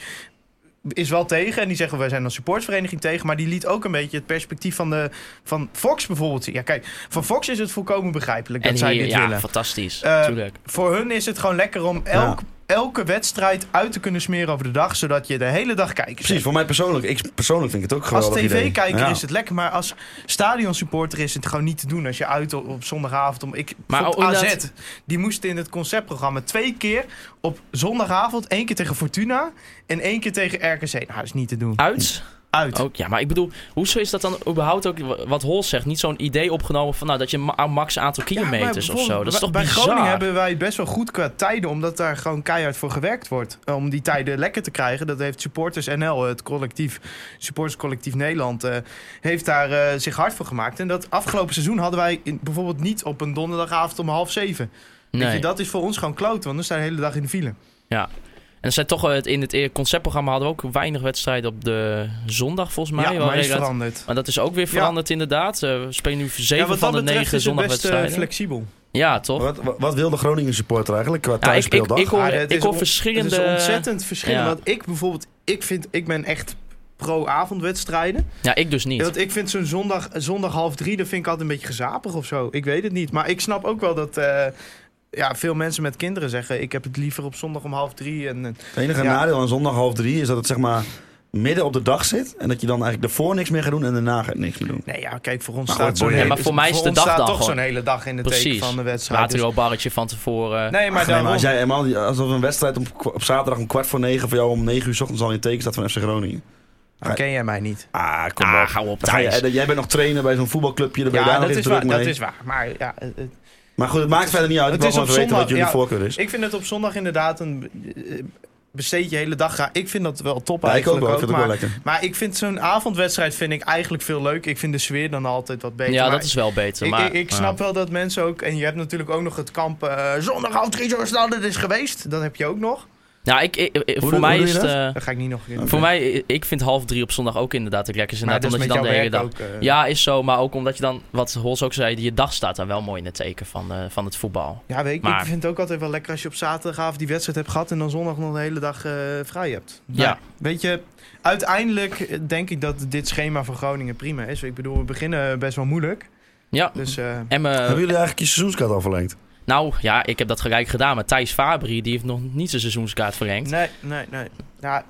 [SPEAKER 5] is wel tegen en die zeggen wij zijn als supportvereniging tegen. Maar die liet ook een beetje het perspectief van, de, van Fox bijvoorbeeld zien. Ja, kijk, van Fox is het volkomen begrijpelijk dat
[SPEAKER 4] en
[SPEAKER 5] zij
[SPEAKER 4] hier-
[SPEAKER 5] dit
[SPEAKER 4] ja,
[SPEAKER 5] willen.
[SPEAKER 4] fantastisch.
[SPEAKER 5] Eh,
[SPEAKER 4] natuurlijk.
[SPEAKER 5] Voor hun is het gewoon lekker om elk, elke wedstrijd uit te kunnen smeren over de dag. Zodat je de hele dag kijkt.
[SPEAKER 6] Precies, voor mij persoonlijk. Ik persoonlijk vind ik het ook
[SPEAKER 5] Als
[SPEAKER 6] geweldig
[SPEAKER 5] tv-kijker
[SPEAKER 6] idee. Ja.
[SPEAKER 5] is het lekker, maar als stadionsupporter is het gewoon niet te doen. Als je uit op, op zondagavond om. Ik,
[SPEAKER 4] Maar
[SPEAKER 5] vond
[SPEAKER 4] ook
[SPEAKER 5] AZ,
[SPEAKER 4] inderdaad-
[SPEAKER 5] die moesten in het conceptprogramma twee keer op zondagavond. één keer tegen Fortuna en één keer tegen RKC. Nou, dat is niet te doen.
[SPEAKER 4] Uit?
[SPEAKER 5] Uit.
[SPEAKER 4] Ook, ja, maar ik bedoel, hoezo is dat dan überhaupt ook, wa- wat Hol zegt, niet zo'n idee opgenomen van nou, dat je ma- max aantal
[SPEAKER 5] Ja, maar
[SPEAKER 4] kilometers of zo?
[SPEAKER 5] bijvoorbeeld
[SPEAKER 4] Dat is toch
[SPEAKER 5] bij
[SPEAKER 4] bizar?
[SPEAKER 5] Groningen hebben wij het best wel goed qua tijden, omdat daar gewoon keihard voor gewerkt wordt. eh, Om die tijden lekker te krijgen. Dat heeft Supporters NL, het collectief, Supporters Collectief Nederland, eh, heeft daar eh, zich hard voor gemaakt. En dat afgelopen seizoen hadden wij in- bijvoorbeeld niet op een donderdagavond om half zeven. Weet
[SPEAKER 4] Nee.
[SPEAKER 5] je, dat is voor ons gewoon kloot, want dan staan we de hele dag in de file.
[SPEAKER 4] En er zijn toch wel het- in het eer- conceptprogramma hadden we ook weinig wedstrijden op de zondag volgens mij.
[SPEAKER 5] ja,
[SPEAKER 4] Wel
[SPEAKER 5] maar is
[SPEAKER 4] redelijk-
[SPEAKER 5] veranderd.
[SPEAKER 4] maar dat is ook weer
[SPEAKER 5] Ja.
[SPEAKER 4] veranderd inderdaad. Eh, we spelen nu
[SPEAKER 5] Ja,
[SPEAKER 4] zeven
[SPEAKER 5] wat
[SPEAKER 4] van
[SPEAKER 5] dat
[SPEAKER 4] de
[SPEAKER 5] betreft
[SPEAKER 4] negen
[SPEAKER 5] is het best eh,
[SPEAKER 4] zondagwedstrijden.
[SPEAKER 5] flexibel.
[SPEAKER 4] ja, toch?
[SPEAKER 6] Wat, wat, wat wil de Groningen supporter eigenlijk qua
[SPEAKER 4] Ja, ik, ik,
[SPEAKER 6] thuisspeeldag?
[SPEAKER 4] ik hoor,
[SPEAKER 5] Ah, het
[SPEAKER 4] ik
[SPEAKER 5] is
[SPEAKER 4] hoor
[SPEAKER 5] on-
[SPEAKER 4] verschillende...
[SPEAKER 5] Het is ontzettend verschillend,
[SPEAKER 4] Ja.
[SPEAKER 5] want ik bijvoorbeeld, ik vind, ik ben echt pro-avondwedstrijden.
[SPEAKER 4] Ja, ik dus
[SPEAKER 5] Ja,
[SPEAKER 4] niet.
[SPEAKER 5] want ik vind zo'n zondag, zondag half drie, dat vind ik altijd een beetje gezapig of zo. Ik weet het niet. Maar ik snap ook wel dat eh, ja, veel mensen met kinderen zeggen... ik heb het liever op zondag om half drie. En, eh, en-
[SPEAKER 6] Het enige
[SPEAKER 5] Ja.
[SPEAKER 6] nadeel aan zondag half drie is dat het zeg maar midden op de dag zit. En dat je dan eigenlijk daarvoor niks meer gaat doen en daarna gaat niks meer doen.
[SPEAKER 5] nee, ja, kijk, voor ons
[SPEAKER 6] Maar goed,
[SPEAKER 5] staat zo'n
[SPEAKER 6] boeien.
[SPEAKER 5] hele-
[SPEAKER 4] Ja, maar voor mij is de
[SPEAKER 5] ons
[SPEAKER 4] dag
[SPEAKER 5] staat
[SPEAKER 4] dan
[SPEAKER 5] toch
[SPEAKER 4] gewoon.
[SPEAKER 5] zo'n hele dag in de teken
[SPEAKER 4] Precies.
[SPEAKER 5] van de wedstrijd. Dus-
[SPEAKER 4] Ratio-barretje van tevoren.
[SPEAKER 5] nee, maar
[SPEAKER 6] Ach, nee,
[SPEAKER 5] daarom...
[SPEAKER 6] maar als jij helemaal niet- alsof een wedstrijd op, kwa- op zaterdag om kwart voor negen voor jou om negen uur 's ochtends al in teken staat van FC Groningen.
[SPEAKER 5] Dan ken jij mij niet.
[SPEAKER 6] Ah, kom
[SPEAKER 4] Ah,
[SPEAKER 6] op.
[SPEAKER 4] ga op,
[SPEAKER 6] Dan ga je-
[SPEAKER 4] Thijs.
[SPEAKER 6] eh, jij bent nog trainer bij zo'n voetbalclubje, daar ben je
[SPEAKER 5] Ja,
[SPEAKER 6] daar
[SPEAKER 5] dat
[SPEAKER 6] nog eens
[SPEAKER 5] is,
[SPEAKER 6] druk
[SPEAKER 5] waar, dat
[SPEAKER 6] mee.
[SPEAKER 5] is waar. Maar ja, eh, eh,
[SPEAKER 6] Maar goed, het maakt verder niet uit.
[SPEAKER 5] Het
[SPEAKER 6] ik wil
[SPEAKER 5] is
[SPEAKER 6] gewoon
[SPEAKER 5] op
[SPEAKER 6] even weten
[SPEAKER 5] zondag,
[SPEAKER 6] wat jullie
[SPEAKER 5] ja.
[SPEAKER 6] voorkeur is.
[SPEAKER 5] dus ik vind het op zondag inderdaad een... eh, Besteed je hele dag. ga- Ik vind dat wel top
[SPEAKER 6] Ja, ik ook
[SPEAKER 5] eigenlijk.
[SPEAKER 6] wel. Ik vind het
[SPEAKER 5] maar, Eh,
[SPEAKER 6] wel lekker.
[SPEAKER 5] maar ik vind zo'n avondwedstrijd vind ik eigenlijk veel leuk. Ik vind de sfeer dan altijd wat beter.
[SPEAKER 4] ja,
[SPEAKER 5] maar
[SPEAKER 4] dat is wel beter.
[SPEAKER 5] Ik,
[SPEAKER 4] maar,
[SPEAKER 5] ik, ik snap wel dat mensen ook. En je hebt natuurlijk ook nog het kamp. eh zondag half drie, zo snel het is geweest. Dat heb je ook nog.
[SPEAKER 4] Ja, ik, ik- ik- voor
[SPEAKER 6] doe-
[SPEAKER 4] mij
[SPEAKER 6] hoe doe
[SPEAKER 4] is
[SPEAKER 6] je
[SPEAKER 4] het...
[SPEAKER 6] dat?
[SPEAKER 4] eh,
[SPEAKER 5] Daar ga ik niet nog in.
[SPEAKER 4] Voor mij, ik vind half drie op zondag ook inderdaad het lekkerste.
[SPEAKER 5] Maar
[SPEAKER 4] Inderdaad,
[SPEAKER 5] dat is
[SPEAKER 4] omdat
[SPEAKER 5] met
[SPEAKER 4] je dan
[SPEAKER 5] jouw
[SPEAKER 4] de hele
[SPEAKER 5] werk
[SPEAKER 4] dag... Ja,
[SPEAKER 5] ook. eh,
[SPEAKER 4] is zo. Maar ook omdat je dan, wat Hols ook zei, je dag staat daar wel mooi in het teken van, eh, van het voetbal.
[SPEAKER 5] Ja, weet ik,
[SPEAKER 4] Maar-
[SPEAKER 5] ik vind het ook altijd wel lekker als je op zaterdagavond die wedstrijd hebt gehad en dan zondag nog de hele dag eh, vrij hebt.
[SPEAKER 4] Ja.
[SPEAKER 5] Maar, Weet je, uiteindelijk eh, denk ik dat dit schema voor Groningen prima is. Ik bedoel, we beginnen best wel moeilijk.
[SPEAKER 4] Ja,
[SPEAKER 5] Dus eh,
[SPEAKER 4] en eh,
[SPEAKER 6] Hebben jullie eigenlijk je seizoenskaart al verlengd?
[SPEAKER 4] nou ja, ik heb dat gelijk gedaan. Maar Thijs Fabri, die heeft nog niet zijn seizoenskaart verlengd.
[SPEAKER 5] nee, nee, nee. Ja,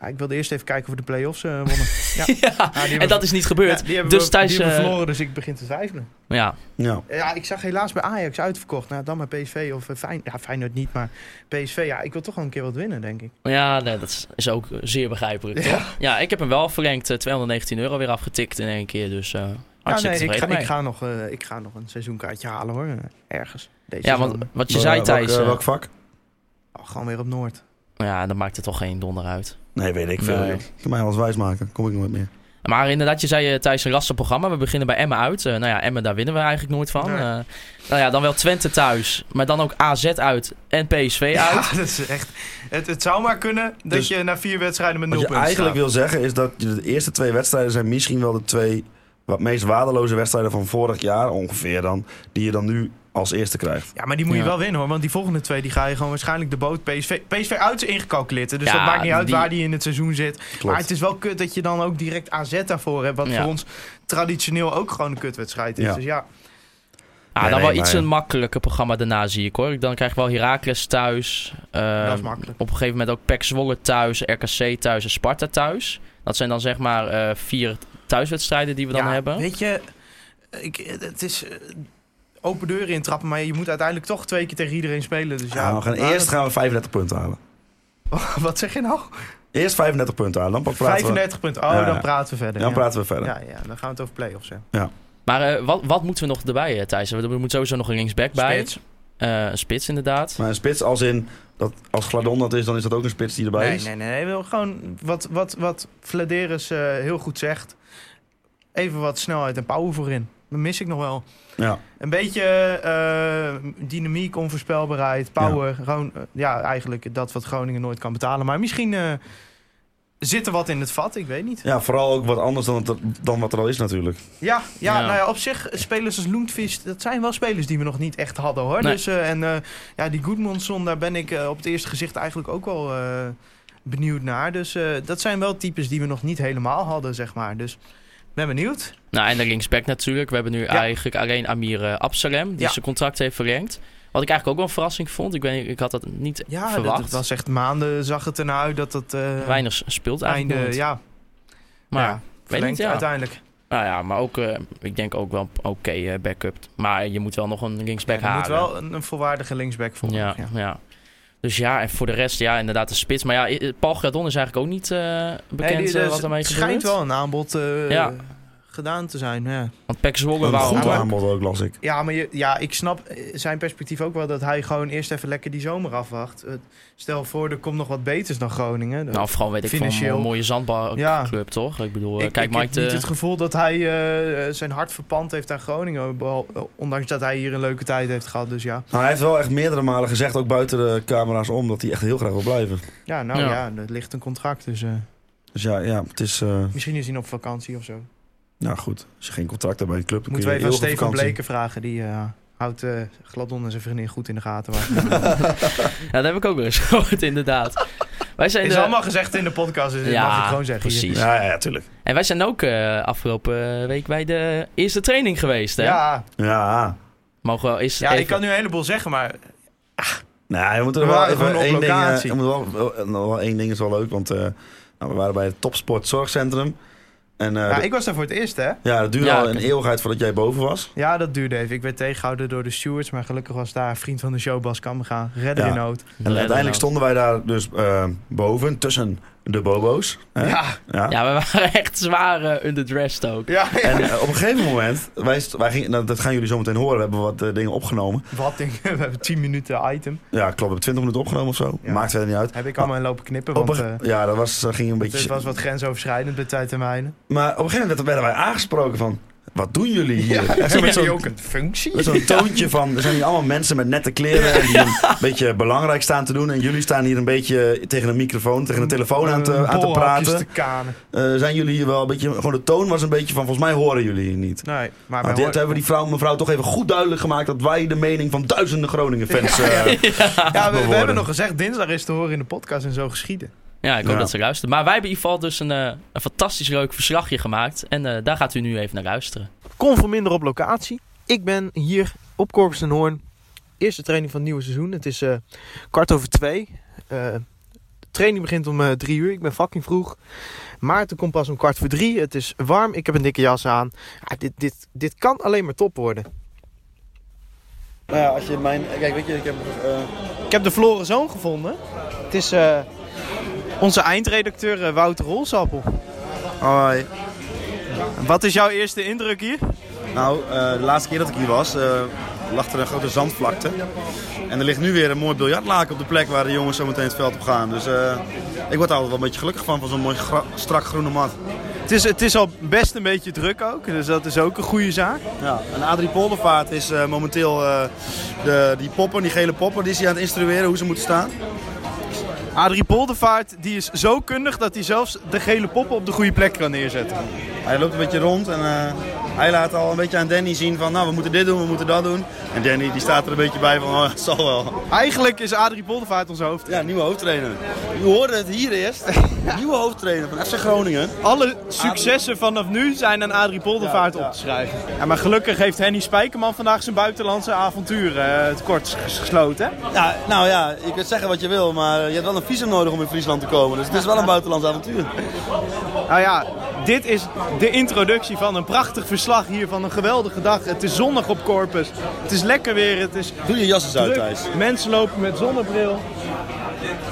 [SPEAKER 5] ja, ik wilde eerst even kijken of we de play-offs eh, wonnen.
[SPEAKER 4] <laughs> ja,
[SPEAKER 5] Ja, die hebben
[SPEAKER 4] en dat
[SPEAKER 5] we-
[SPEAKER 4] is niet
[SPEAKER 5] <laughs> Ja,
[SPEAKER 4] gebeurd.
[SPEAKER 5] die hebben
[SPEAKER 4] dus
[SPEAKER 5] we,
[SPEAKER 4] Thijs...
[SPEAKER 5] die hebben we
[SPEAKER 4] eh,
[SPEAKER 5] verloren, dus ik begin te twijfelen.
[SPEAKER 4] ja,
[SPEAKER 6] Ja.
[SPEAKER 5] Ja, ik zag helaas bij Ajax uitverkocht. Nou, dan maar PSV of eh, Fijn... Ja, Feyenoord niet, maar PSV. Ja, ik wil toch wel een keer wat winnen, denk ik.
[SPEAKER 4] ja nee, dat is- is ook zeer begrijpelijk. toch? Ja. ik heb hem wel verlengd. eh, 219 euro weer afgetikt in één keer. Dus eh
[SPEAKER 5] Ja,
[SPEAKER 4] hartstikke
[SPEAKER 5] nee, ik ga,
[SPEAKER 4] tevreden
[SPEAKER 5] ik,
[SPEAKER 4] mee.
[SPEAKER 5] ga nog, eh, ik ga nog een seizoenkaartje halen, hoor. eh, Ergens. Deze
[SPEAKER 4] Ja, want
[SPEAKER 5] zomer.
[SPEAKER 4] wat je
[SPEAKER 6] Wel-
[SPEAKER 4] zei,
[SPEAKER 6] welk,
[SPEAKER 4] Thijs...
[SPEAKER 6] eh,
[SPEAKER 4] eh,
[SPEAKER 6] welk vak?
[SPEAKER 5] Oh, gewoon weer op Noord.
[SPEAKER 4] ja, dat maakt er toch geen donder uit.
[SPEAKER 6] Nee, weet ik
[SPEAKER 4] veel,
[SPEAKER 6] veel.
[SPEAKER 4] joh.
[SPEAKER 6] Kan mij alles wijsmaken. Kom ik nooit meer.
[SPEAKER 4] Maar inderdaad, je zei eh, tijdens een rasterprogramma, we beginnen bij Emmen uit. Eh, nou ja, Emmen, daar winnen we eigenlijk nooit van.
[SPEAKER 5] Nee.
[SPEAKER 4] Eh, nou ja, dan wel Twente thuis, maar dan ook AZ uit en PSV
[SPEAKER 5] <laughs> Ja,
[SPEAKER 4] uit.
[SPEAKER 5] dat is echt. Het, het zou maar kunnen dat
[SPEAKER 6] Dus-
[SPEAKER 5] je na vier wedstrijden met nul
[SPEAKER 6] Wat je
[SPEAKER 5] punten
[SPEAKER 6] eigenlijk
[SPEAKER 5] staat.
[SPEAKER 6] wil zeggen is dat je de eerste twee wedstrijden zijn misschien wel de twee wat meest waardeloze wedstrijden van vorig jaar ongeveer dan. Die je dan nu als eerste krijgt.
[SPEAKER 5] Ja, maar die moet je
[SPEAKER 4] Ja.
[SPEAKER 5] wel winnen hoor. Want die volgende twee die ga je gewoon waarschijnlijk de boot PSV, PSV uit is ingecalculeerd. hè, Dus
[SPEAKER 4] Ja,
[SPEAKER 5] dat maakt niet uit
[SPEAKER 4] die-
[SPEAKER 5] waar die in het seizoen zit. Maar het
[SPEAKER 6] Klopt.
[SPEAKER 5] is wel kut dat je dan ook direct AZ daarvoor hebt. Wat
[SPEAKER 4] Ja.
[SPEAKER 5] voor ons traditioneel ook gewoon een kutwedstrijd is.
[SPEAKER 6] Ja.
[SPEAKER 5] Dus ja,
[SPEAKER 4] Ah,
[SPEAKER 6] Nee,
[SPEAKER 4] dan
[SPEAKER 6] nee,
[SPEAKER 4] wel iets
[SPEAKER 6] maar-
[SPEAKER 4] een makkelijker programma daarna, zie ik hoor. Dan krijg je wel Heracles thuis. eh,
[SPEAKER 5] dat is makkelijk.
[SPEAKER 4] op een gegeven moment ook PEC Zwolle thuis, RKC thuis en Sparta thuis. Dat zijn dan zeg maar eh, vier thuiswedstrijden die we dan
[SPEAKER 5] Ja,
[SPEAKER 4] hebben.
[SPEAKER 5] Weet je, ik, het is eh, open deuren intrappen. Maar je moet uiteindelijk toch twee keer tegen iedereen spelen. Dus ja,
[SPEAKER 6] Ja, Nou, we gaan
[SPEAKER 5] maar
[SPEAKER 6] eerst gaan we 35 punten halen.
[SPEAKER 5] dat- <laughs> Wat zeg je nou?
[SPEAKER 6] Eerst 35 punten halen. Dan praten
[SPEAKER 5] 35 punten. Oh,
[SPEAKER 6] Ja,
[SPEAKER 5] dan
[SPEAKER 6] ja.
[SPEAKER 5] praten we verder.
[SPEAKER 6] we, dan
[SPEAKER 5] ja.
[SPEAKER 6] praten we verder.
[SPEAKER 5] Ja, ja, dan gaan we het over play-offs hebben.
[SPEAKER 4] Maar eh, wat, wat moeten we nog erbij, eh, Thijs? We we moeten sowieso nog een linksback bij.
[SPEAKER 5] Spits.
[SPEAKER 4] Eh, een spits inderdaad.
[SPEAKER 6] Maar een spits als in, dat, als Gladon dat is, dan is dat ook een spits die erbij
[SPEAKER 5] Nee,
[SPEAKER 6] is.
[SPEAKER 5] nee, nee. nee. Wil gewoon wat, wat, wat Vladeris eh, heel goed zegt. Even wat snelheid en power voorin. Dat mis ik nog wel.
[SPEAKER 6] Ja.
[SPEAKER 5] Een beetje eh, dynamiek, onvoorspelbaarheid, power. Gewoon, eh, ja, eigenlijk dat wat Groningen nooit kan betalen. Maar misschien eh, zit er wat in het vat, ik weet niet.
[SPEAKER 6] ja, vooral ook wat anders dan, het, dan wat er al is natuurlijk.
[SPEAKER 5] Ja, ja,
[SPEAKER 4] Ja.
[SPEAKER 5] nou ja, op zich, eh, spelers als Loentvis, dat zijn wel spelers die we nog niet echt hadden hoor.
[SPEAKER 4] Nee.
[SPEAKER 5] Dus, eh, en eh, ja, die Goodmanson, daar ben ik eh, op het eerste gezicht eigenlijk ook wel eh, benieuwd naar. Dus eh, dat zijn wel types die we nog niet helemaal hadden, zeg maar. Dus ben benieuwd.
[SPEAKER 4] Nou, en de linksback natuurlijk. We hebben nu eigenlijk alleen Amir eh, Absalem, die
[SPEAKER 5] Ja.
[SPEAKER 4] zijn contract heeft verlengd. Wat ik eigenlijk ook wel een verrassing vond. Ik, weet, ik had dat niet
[SPEAKER 5] Ja, dat-
[SPEAKER 4] verwacht.
[SPEAKER 5] dat was echt maanden, zag het ernaar uit dat het eh,
[SPEAKER 4] Weinig s- speelt eigenlijk
[SPEAKER 5] einde,
[SPEAKER 4] nooit.
[SPEAKER 5] ja,
[SPEAKER 4] maar,
[SPEAKER 5] ja, verlengd
[SPEAKER 4] niet, ja.
[SPEAKER 5] uiteindelijk.
[SPEAKER 4] Nou ja, maar ook, eh, ik denk ook wel een oké eh, backup. Maar je moet wel nog een linksback
[SPEAKER 5] Ja, er moet
[SPEAKER 4] halen.
[SPEAKER 5] wel een, een volwaardige linksback voor.
[SPEAKER 4] ja, ja. Dus ja, en voor de rest, ja, inderdaad de spits. Maar ja, i- i- Paul Gradon is eigenlijk ook niet eh, bekend
[SPEAKER 5] Nee, die-
[SPEAKER 4] eh,
[SPEAKER 5] er
[SPEAKER 4] wat ermee gebeurt.
[SPEAKER 5] schijnt wel een aanbod eh,
[SPEAKER 4] Ja.
[SPEAKER 5] gedaan te zijn, ja.
[SPEAKER 4] Want Pek Zwolle
[SPEAKER 6] Een
[SPEAKER 4] wou
[SPEAKER 6] goed
[SPEAKER 5] maar-
[SPEAKER 6] aanbod ook, las ik.
[SPEAKER 5] Ja, maar je, ja, ik snap eh, zijn perspectief ook wel dat hij gewoon eerst even lekker die zomer afwacht. Eh, Stel voor, er komt nog wat beters dan Groningen.
[SPEAKER 4] Nou, vooral weet ik van
[SPEAKER 5] Financieel.
[SPEAKER 4] een mooie zandbalclub,
[SPEAKER 5] Ja.
[SPEAKER 4] toch? Ik bedoel, eh,
[SPEAKER 5] ik,
[SPEAKER 4] kijk
[SPEAKER 5] ik
[SPEAKER 4] Mike...
[SPEAKER 5] heb niet
[SPEAKER 4] de-
[SPEAKER 5] het gevoel dat hij eh, zijn hart verpand heeft aan Groningen. behal- eh, Ondanks dat hij hier een leuke tijd heeft gehad. Dus ja,
[SPEAKER 6] Nou, hij heeft wel echt meerdere malen gezegd, ook buiten de camera's om, dat hij echt heel graag wil blijven.
[SPEAKER 5] ja nou
[SPEAKER 4] Ja.
[SPEAKER 5] ja, er ligt een contract. Dus eh,
[SPEAKER 6] Dus ja, ja het is... eh,
[SPEAKER 5] misschien is hij nog op vakantie of zo.
[SPEAKER 6] nou goed, als je geen contract hebt bij een club, dan
[SPEAKER 5] Moeten
[SPEAKER 6] kun
[SPEAKER 5] we
[SPEAKER 6] je
[SPEAKER 5] even aan
[SPEAKER 6] eeuwig op
[SPEAKER 5] Stefan
[SPEAKER 6] vakantie.
[SPEAKER 5] Bleken vragen. Die eh, houdt eh, Gladon en zijn vriendin goed in de gaten. Maar
[SPEAKER 4] Ja, Nou, dat heb ik ook wel eens <laughs> gehoord, inderdaad. Wij zijn
[SPEAKER 5] is
[SPEAKER 4] de-
[SPEAKER 5] allemaal gezegd in de podcast. Dus dit
[SPEAKER 4] Ja,
[SPEAKER 5] mag ik gewoon zeggen. hier.
[SPEAKER 4] precies.
[SPEAKER 6] Ja, ja, ja, tuurlijk.
[SPEAKER 4] En wij zijn ook eh, afgelopen week bij de eerste training geweest, hè?
[SPEAKER 5] Ja,
[SPEAKER 6] Ja,
[SPEAKER 4] Mogen we eens
[SPEAKER 5] ja
[SPEAKER 4] even...
[SPEAKER 5] ik kan nu een heleboel zeggen, maar
[SPEAKER 6] Nou, we moeten
[SPEAKER 5] We
[SPEAKER 6] er wel
[SPEAKER 5] waren
[SPEAKER 6] even
[SPEAKER 5] gewoon op
[SPEAKER 6] één ding... eh,
[SPEAKER 5] locatie.
[SPEAKER 6] we moeten wel, wel- eh, nog wel één ding is wel leuk, want eh, nou, we waren bij het Topsport Zorgcentrum. En eh,
[SPEAKER 5] Ja,
[SPEAKER 6] de-
[SPEAKER 5] ik was daar voor het eerst, hè?
[SPEAKER 6] ja, dat duurde
[SPEAKER 4] Ja,
[SPEAKER 6] al
[SPEAKER 4] ik-
[SPEAKER 6] een eeuwigheid voordat jij boven was.
[SPEAKER 5] Ja, dat duurde even. Ik werd tegengehouden door de stewards, maar gelukkig was daar vriend van de show Bas Kamga, redder
[SPEAKER 6] Ja.
[SPEAKER 5] in nood.
[SPEAKER 6] En uiteindelijk stonden wij daar dus eh, boven, tussen de bobo's. Hè?
[SPEAKER 5] Ja,
[SPEAKER 6] Ja.
[SPEAKER 4] Ja, we waren echt zwaar eh, underdressed ook.
[SPEAKER 5] ja, ja. <laughs>
[SPEAKER 6] En eh, op een gegeven moment, wij, st- wij gingen, nou, dat gaan jullie zo meteen horen, we hebben wat eh, dingen opgenomen.
[SPEAKER 5] Wat ding, we hebben 10 minuten item.
[SPEAKER 6] Ja, klopt, we hebben 20 minuten opgenomen of zo.
[SPEAKER 5] Ja.
[SPEAKER 6] Maakt verder niet uit.
[SPEAKER 5] Heb ik allemaal in lopen knippen,
[SPEAKER 6] Op
[SPEAKER 5] want
[SPEAKER 6] een
[SPEAKER 5] eh
[SPEAKER 6] ge- ja, dat was, eh, ging een beetje...
[SPEAKER 5] het was wat grensoverschrijdend bij tijdtermijnen.
[SPEAKER 6] Maar op een gegeven moment werden wij aangesproken van... Wat doen jullie hier?
[SPEAKER 5] Ja,
[SPEAKER 6] Echt zo
[SPEAKER 5] heb
[SPEAKER 6] met
[SPEAKER 5] je
[SPEAKER 6] zo'n
[SPEAKER 5] ook een functie?
[SPEAKER 6] met zo'n toontje van, er zijn hier allemaal mensen met nette kleren en die een beetje belangrijk staan te doen. En jullie staan hier een beetje tegen een microfoon, tegen een telefoon aan te,
[SPEAKER 5] Eh,
[SPEAKER 6] aan te
[SPEAKER 5] bolhapjes
[SPEAKER 6] praten.
[SPEAKER 5] te kanen.
[SPEAKER 6] Eh, zijn jullie hier wel een beetje, gewoon de toon was een beetje van, volgens mij horen jullie hier niet.
[SPEAKER 5] Nee, maar
[SPEAKER 6] Maar
[SPEAKER 5] wij
[SPEAKER 6] dit
[SPEAKER 5] horen-
[SPEAKER 6] hebben we die vrouw, mevrouw toch even goed duidelijk gemaakt dat wij de mening van duizenden Groningen fans.
[SPEAKER 5] <laughs>
[SPEAKER 6] eh,
[SPEAKER 5] ja, we- we,
[SPEAKER 6] bewoorden.
[SPEAKER 5] hebben nog gezegd, dinsdag is te horen in de podcast en zo geschieden.
[SPEAKER 4] Ja, ik hoop
[SPEAKER 6] Ja.
[SPEAKER 4] dat ze luisteren. Maar wij hebben in ieder geval dus een, eh, een fantastisch leuk verslagje gemaakt. En eh, daar gaat u nu even naar luisteren.
[SPEAKER 5] Kom voor minder op locatie. Ik ben hier op Corpus en Hoorn. Eerste training van het nieuwe seizoen. Het is eh, kwart over twee. Eh, de training begint om eh, drie uur. Ik ben fucking vroeg. Maarten komt pas om kwart voor drie. Het is warm. Ik heb een dikke jas aan. Ja, dit, dit, dit kan alleen maar top worden.
[SPEAKER 6] Nou ja, als je mijn. Kijk, weet je, ik heb. eh,
[SPEAKER 5] Ik heb de verloren zoon gevonden. Het is eh, onze eindredacteur eh, Wouter Rolsappel.
[SPEAKER 6] Hoi.
[SPEAKER 5] Wat is jouw eerste indruk hier?
[SPEAKER 6] Nou, eh, de laatste keer dat ik hier was, eh, lag er een grote zandvlakte. En er ligt nu weer een mooi biljartlaken op de plek waar de jongens zo meteen het veld op gaan. Dus eh, ik word er altijd wel een beetje gelukkig van, van zo'n mooi gra- strak groene mat.
[SPEAKER 5] Het is, het is al best een beetje druk ook, dus dat is ook een goede zaak.
[SPEAKER 6] Ja, en Adrie Poldervaart is eh, momenteel eh, de, die popper, die gele popper, die is hij aan het instrueren hoe ze moeten staan.
[SPEAKER 5] Adrie Poldervaart die is zo kundig dat hij zelfs de gele poppen op de goede plek kan neerzetten.
[SPEAKER 6] Hij loopt een beetje rond en eh, hij laat al een beetje aan Danny zien van, nou, we moeten dit doen, we moeten dat doen. En Danny die staat er een beetje bij van, oh, het zal wel.
[SPEAKER 5] Eigenlijk is Adrie Poldervaart onze hoofd.
[SPEAKER 6] Ja, nieuwe hoofdtrainer. U hoorde het hier <laughs> eerst. nieuwe hoofdtrainer van FC Groningen.
[SPEAKER 5] Alle successen vanaf nu zijn aan Adrie Poldervaart
[SPEAKER 6] Ja, ja.
[SPEAKER 5] op te schrijven. Ja, maar gelukkig heeft Henny Spijkerman vandaag zijn buitenlandse avontuur eh, het kort ges- gesloten. hè?
[SPEAKER 6] Ja, nou ja, je kunt zeggen wat je wil, maar je hebt wel een visum nodig om in Friesland te komen. Dus het is wel een buitenlands avontuur.
[SPEAKER 5] Nou ja, dit is de introductie van een prachtig verslag hier van een geweldige dag. Het is zonnig op Corpus. Het is lekker weer. Het is
[SPEAKER 6] Doe je jas eens uit,
[SPEAKER 5] druk.
[SPEAKER 6] Thijs.
[SPEAKER 5] Mensen lopen met zonnebril.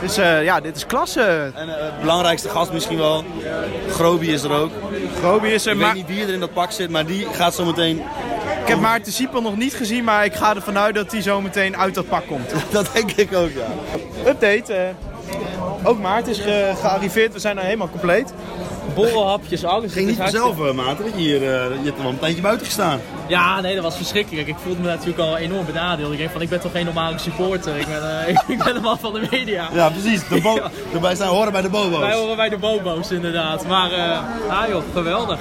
[SPEAKER 5] Dus eh, ja, dit is klasse.
[SPEAKER 6] En eh, belangrijkste gast misschien wel, Grobi is er ook.
[SPEAKER 5] Roby is er,
[SPEAKER 6] Ik
[SPEAKER 5] maar
[SPEAKER 6] weet niet wie er in dat pak zit, maar die gaat zo meteen... <laughs>
[SPEAKER 5] ik heb Maarten Siepel nog niet gezien, maar ik ga ervan uit dat hij zo meteen uit dat pak komt.
[SPEAKER 6] Dat denk ik ook, ja.
[SPEAKER 5] <laughs> Update. eh, ook Maarten is ge- gearriveerd. We zijn nou helemaal compleet.
[SPEAKER 4] Borrelhapjes, alles.
[SPEAKER 6] Ging niet vanzelf, eh, Maarten. dat Je, hier, eh, je hebt er wel een tijdje buiten gestaan.
[SPEAKER 7] Ja, nee, dat was verschrikkelijk. Ik voelde me natuurlijk al enorm benadeeld. Ik denk van, ik ben toch geen normale supporter. Ik ben, eh, <laughs> ik ben helemaal van de media.
[SPEAKER 6] Ja, precies. De
[SPEAKER 7] <laughs>
[SPEAKER 6] bo- Erbij staan horen bij de
[SPEAKER 7] Wij
[SPEAKER 6] bobo's.
[SPEAKER 7] horen bij de bobo's inderdaad. Maar, eh ah joh, geweldig.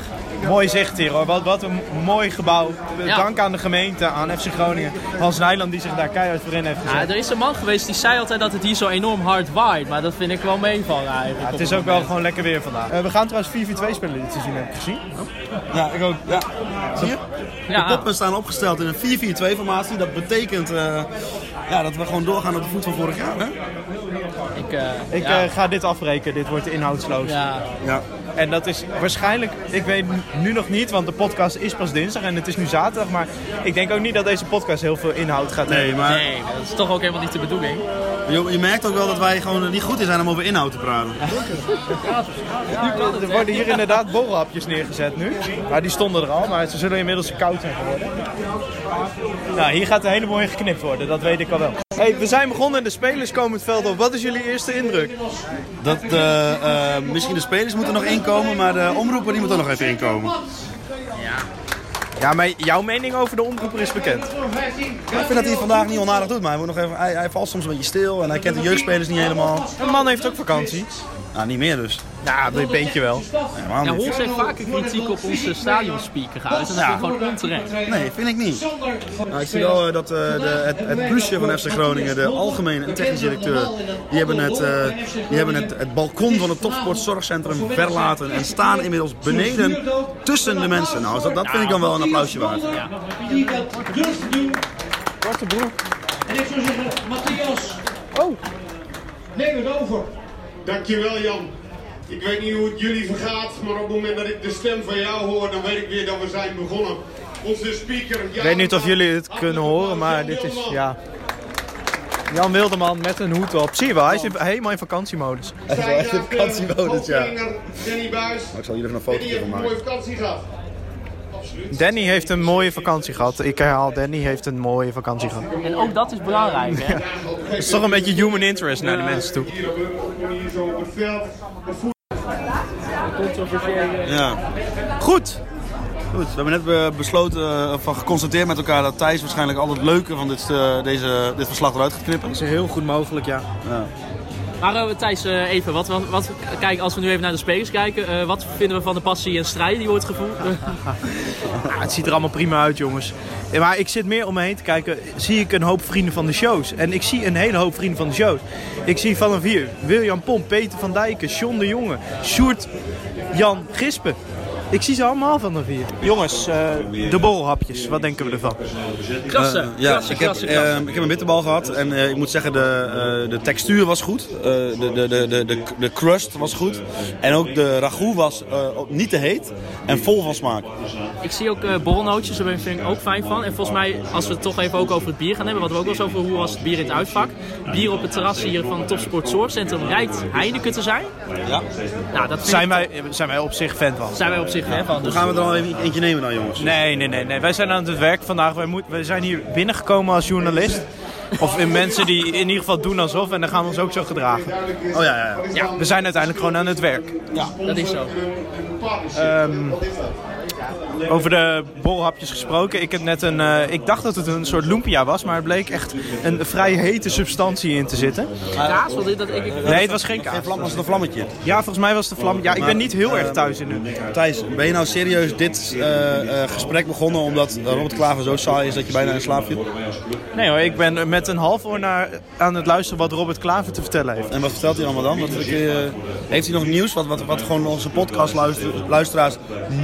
[SPEAKER 5] Mooi zicht hier hoor. Wat, wat een mooi gebouw.
[SPEAKER 7] Ja.
[SPEAKER 5] Dank aan de gemeente, aan FC Groningen. Hans Nijland die zich daar keihard voor in heeft gezet.
[SPEAKER 7] Ja, er is een man geweest die zei altijd dat het hier zo enorm hard waait. Maar dat vind ik wel meevallen eigenlijk.
[SPEAKER 5] Ja, het is ook wel gewoon lekker weer vandaag. Eh, we gaan trouwens 4v2 spelen dit seizoen, heb ik gezien.
[SPEAKER 6] Ja, ik ook. Ja. Zie je?
[SPEAKER 7] Ja.
[SPEAKER 6] De poppen staan opgesteld in een 4-4-2-formatie. Dat betekent eh, ja, dat we gewoon doorgaan op de voet van vorig jaar. Hè?
[SPEAKER 7] Ik, eh,
[SPEAKER 5] Ik
[SPEAKER 7] ja,
[SPEAKER 5] eh, ga dit afbreken, dit wordt inhoudsloos.
[SPEAKER 7] ja.
[SPEAKER 6] Ja.
[SPEAKER 5] En dat is waarschijnlijk, ik weet nu nog niet, want de podcast is pas dinsdag en het is nu zaterdag. Maar ik denk ook niet dat deze podcast heel veel inhoud gaat hebben.
[SPEAKER 6] Nee, maar
[SPEAKER 7] Nee, dat is toch ook helemaal niet de bedoeling.
[SPEAKER 6] je, je merkt ook wel dat wij gewoon eh, niet goed in zijn om over inhoud te praten.
[SPEAKER 5] Er worden hier inderdaad borrelhapjes neergezet nu. Maar die stonden er al, maar ze zullen inmiddels koud zijn geworden. Nou, hier gaat een hele mooie geknipt worden, dat weet ik al wel. Hey, we zijn begonnen en de spelers komen het veld op. Wat is jullie eerste indruk?
[SPEAKER 6] Dat, eh, eh, misschien de spelers moeten nog inkomen, maar de omroeper die moet ook nog even inkomen.
[SPEAKER 5] Ja, maar jouw mening over de omroeper is bekend.
[SPEAKER 6] Ik vind dat hij het vandaag niet onaardig doet, maar hij, moet nog even, hij, hij valt soms een beetje stil en hij kent de jeugdspelers niet helemaal.
[SPEAKER 5] Een man heeft ook vakantie.
[SPEAKER 6] Nou, niet meer dus.
[SPEAKER 5] Nou, een beetje wel.
[SPEAKER 6] Nee, waarom
[SPEAKER 7] Ja,
[SPEAKER 6] niet?
[SPEAKER 7] Hols heeft vaker kritiek op onze stadionspeaker dus geuit. En dat vind ik gewoon onterecht.
[SPEAKER 6] Nee, vind ik niet. Nou, ik zie wel eh, dat eh, de, het, het busje van FC Groningen, Eh, de algemene en technische directeur, die hebben het, eh, die hebben het, het balkon van het topsportzorgcentrum verlaten en staan inmiddels beneden tussen de mensen. Nou, dat, dat vind ik dan wel een applausje waard.
[SPEAKER 8] Die dat durft te doen.
[SPEAKER 5] Korte broek.
[SPEAKER 8] En ik zou zeggen, Matthias.
[SPEAKER 5] Oh.
[SPEAKER 8] Neem het over.
[SPEAKER 9] Dankjewel Jan. Ik weet niet hoe het jullie vergaat, maar op het moment dat ik de stem van jou hoor, dan weet ik weer dat we zijn begonnen. Onze speaker.
[SPEAKER 5] Ik weet niet of jullie het kunnen horen, maar dit is, ja... Jan Wilderman met een hoed op. Zie je wel, hij zit helemaal in vakantiemodus.
[SPEAKER 9] Hij
[SPEAKER 6] <laughs> is wel echt een vakantiemodus, ja.
[SPEAKER 9] eh, Danny Buis.
[SPEAKER 6] Ik zal hier even een
[SPEAKER 9] Danny
[SPEAKER 6] foto
[SPEAKER 9] heeft
[SPEAKER 6] van
[SPEAKER 9] een mooie
[SPEAKER 6] maken.
[SPEAKER 9] vakantie gehad. Absoluut.
[SPEAKER 5] Danny heeft een mooie vakantie gehad. Ik herhaal, Danny heeft een mooie vakantie gehad.
[SPEAKER 7] En ook dat is belangrijk, hè.
[SPEAKER 5] <laughs> Het is toch een beetje human interest naar de mensen toe.
[SPEAKER 9] Hier op een manier zo op het veld. De voet-
[SPEAKER 6] Ja.
[SPEAKER 5] Goed.
[SPEAKER 6] Goed, we hebben net eh, besloten, eh, van geconstateerd met elkaar, dat Thijs waarschijnlijk al het leuke van dit, eh, deze, dit verslag eruit gaat knippen.
[SPEAKER 5] is heel goed mogelijk, ja.
[SPEAKER 6] Ja.
[SPEAKER 7] Maar eh, Thijs, eh, even, wat, wat, wat- kijk, als we nu even naar de spelers kijken, eh, wat vinden we van de passie en strijd die wordt gevoerd?
[SPEAKER 5] Ja, Ah, het ziet er allemaal prima uit, jongens. Ja, Maar ik zit meer om me heen te kijken. Zie ik een hoop vrienden van de shows. En ik zie een hele hoop vrienden van de shows. Ik zie Van een Vier, William Pomp, Peter van Dijken, Sean de Jonge, Sjoerd, Jan Gispen. Ik zie ze allemaal van de vier. Jongens, eh, de bolhapjes, wat denken we ervan?
[SPEAKER 7] krassen,
[SPEAKER 6] Eh, ja,
[SPEAKER 7] krassen,
[SPEAKER 6] ik, heb,
[SPEAKER 7] krassen,
[SPEAKER 6] eh,
[SPEAKER 7] krassen.
[SPEAKER 6] ik heb een bitterbal gehad en eh, ik moet zeggen, de, eh, de textuur was goed. Eh, de, de, de, de, de, de crust was goed. En ook de ragout was eh, ook niet te heet en vol van smaak.
[SPEAKER 7] Ik zie ook eh borrelnootjes, daar ben ik- vind ik ook fijn van. En volgens mij, als we het toch even ook over het bier gaan hebben, wat we ook wel eens over hoe was het bier in het uitvak. Bier op het terras hier van Topsport Zorgcentrum rijdt Heineken te zijn.
[SPEAKER 6] Ja.
[SPEAKER 7] Nou, dat vind
[SPEAKER 5] Zijn
[SPEAKER 7] ik-
[SPEAKER 5] wij, zijn wij op zich fan van?
[SPEAKER 7] zijn wij op zich hè, van. Dus
[SPEAKER 6] Gaan we er al even eentje nemen dan, jongens?
[SPEAKER 5] Nee, nee, nee, nee. Wij zijn aan het werk vandaag. Wij, moet, wij zijn hier binnengekomen als journalist. Of in mensen die in ieder geval doen alsof. En dan gaan we ons ook zo gedragen.
[SPEAKER 6] Oh ja, ja, ja.
[SPEAKER 5] We zijn uiteindelijk gewoon aan het werk.
[SPEAKER 7] dus dat is zo.
[SPEAKER 5] Over de bolhapjes gesproken. Ik, heb net een, eh, ik dacht dat het een soort lumpia was, maar er bleek echt een vrij hete substantie in te zitten.
[SPEAKER 7] Kaas, wat is dat? Ik, ik-
[SPEAKER 5] Nee, het was geen
[SPEAKER 6] Geen
[SPEAKER 5] kaas.
[SPEAKER 6] vlam was het een vlammetje.
[SPEAKER 5] Ja, volgens mij was de vlam. Ja, ik ben niet heel erg thuis in de.
[SPEAKER 6] Thijs, ben je nou serieus dit eh, eh, gesprek begonnen omdat Robert Klaver zo saai is dat je bijna in slaap viel?
[SPEAKER 5] Nee hoor, ik ben met een half oor naar, aan het luisteren wat Robert Klaver te vertellen heeft.
[SPEAKER 6] En wat vertelt hij allemaal dan? Wat, eh, heeft hij nog nieuws wat, wat, wat gewoon onze podcastluisteraars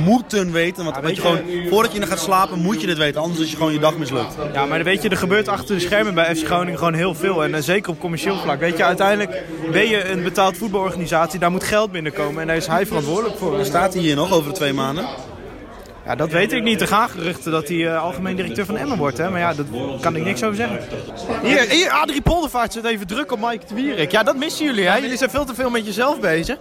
[SPEAKER 6] moeten weten? Want weet je, gewoon, voordat je gaat slapen moet je dit weten, anders is je gewoon je dag mislukt.
[SPEAKER 5] Ja, maar weet je, er gebeurt achter de schermen bij FC Groningen gewoon heel veel. En eh, zeker op commercieel vlak. Weet je, uiteindelijk ben je een betaald voetbalorganisatie, daar moet geld binnenkomen. En daar is hij verantwoordelijk voor.
[SPEAKER 6] Staat hij hier nog over de twee maanden?
[SPEAKER 5] Ja, dat weet ik niet. Er gaan geruchten dat hij eh, algemeen directeur van Emmen wordt, hè? maar ja, daar kan ik niks over zeggen. Hier, hier Adrie Poldervaart zit even druk op Mike de Wierik. Ja, dat missen jullie, hè? Jullie zijn veel te veel met jezelf bezig.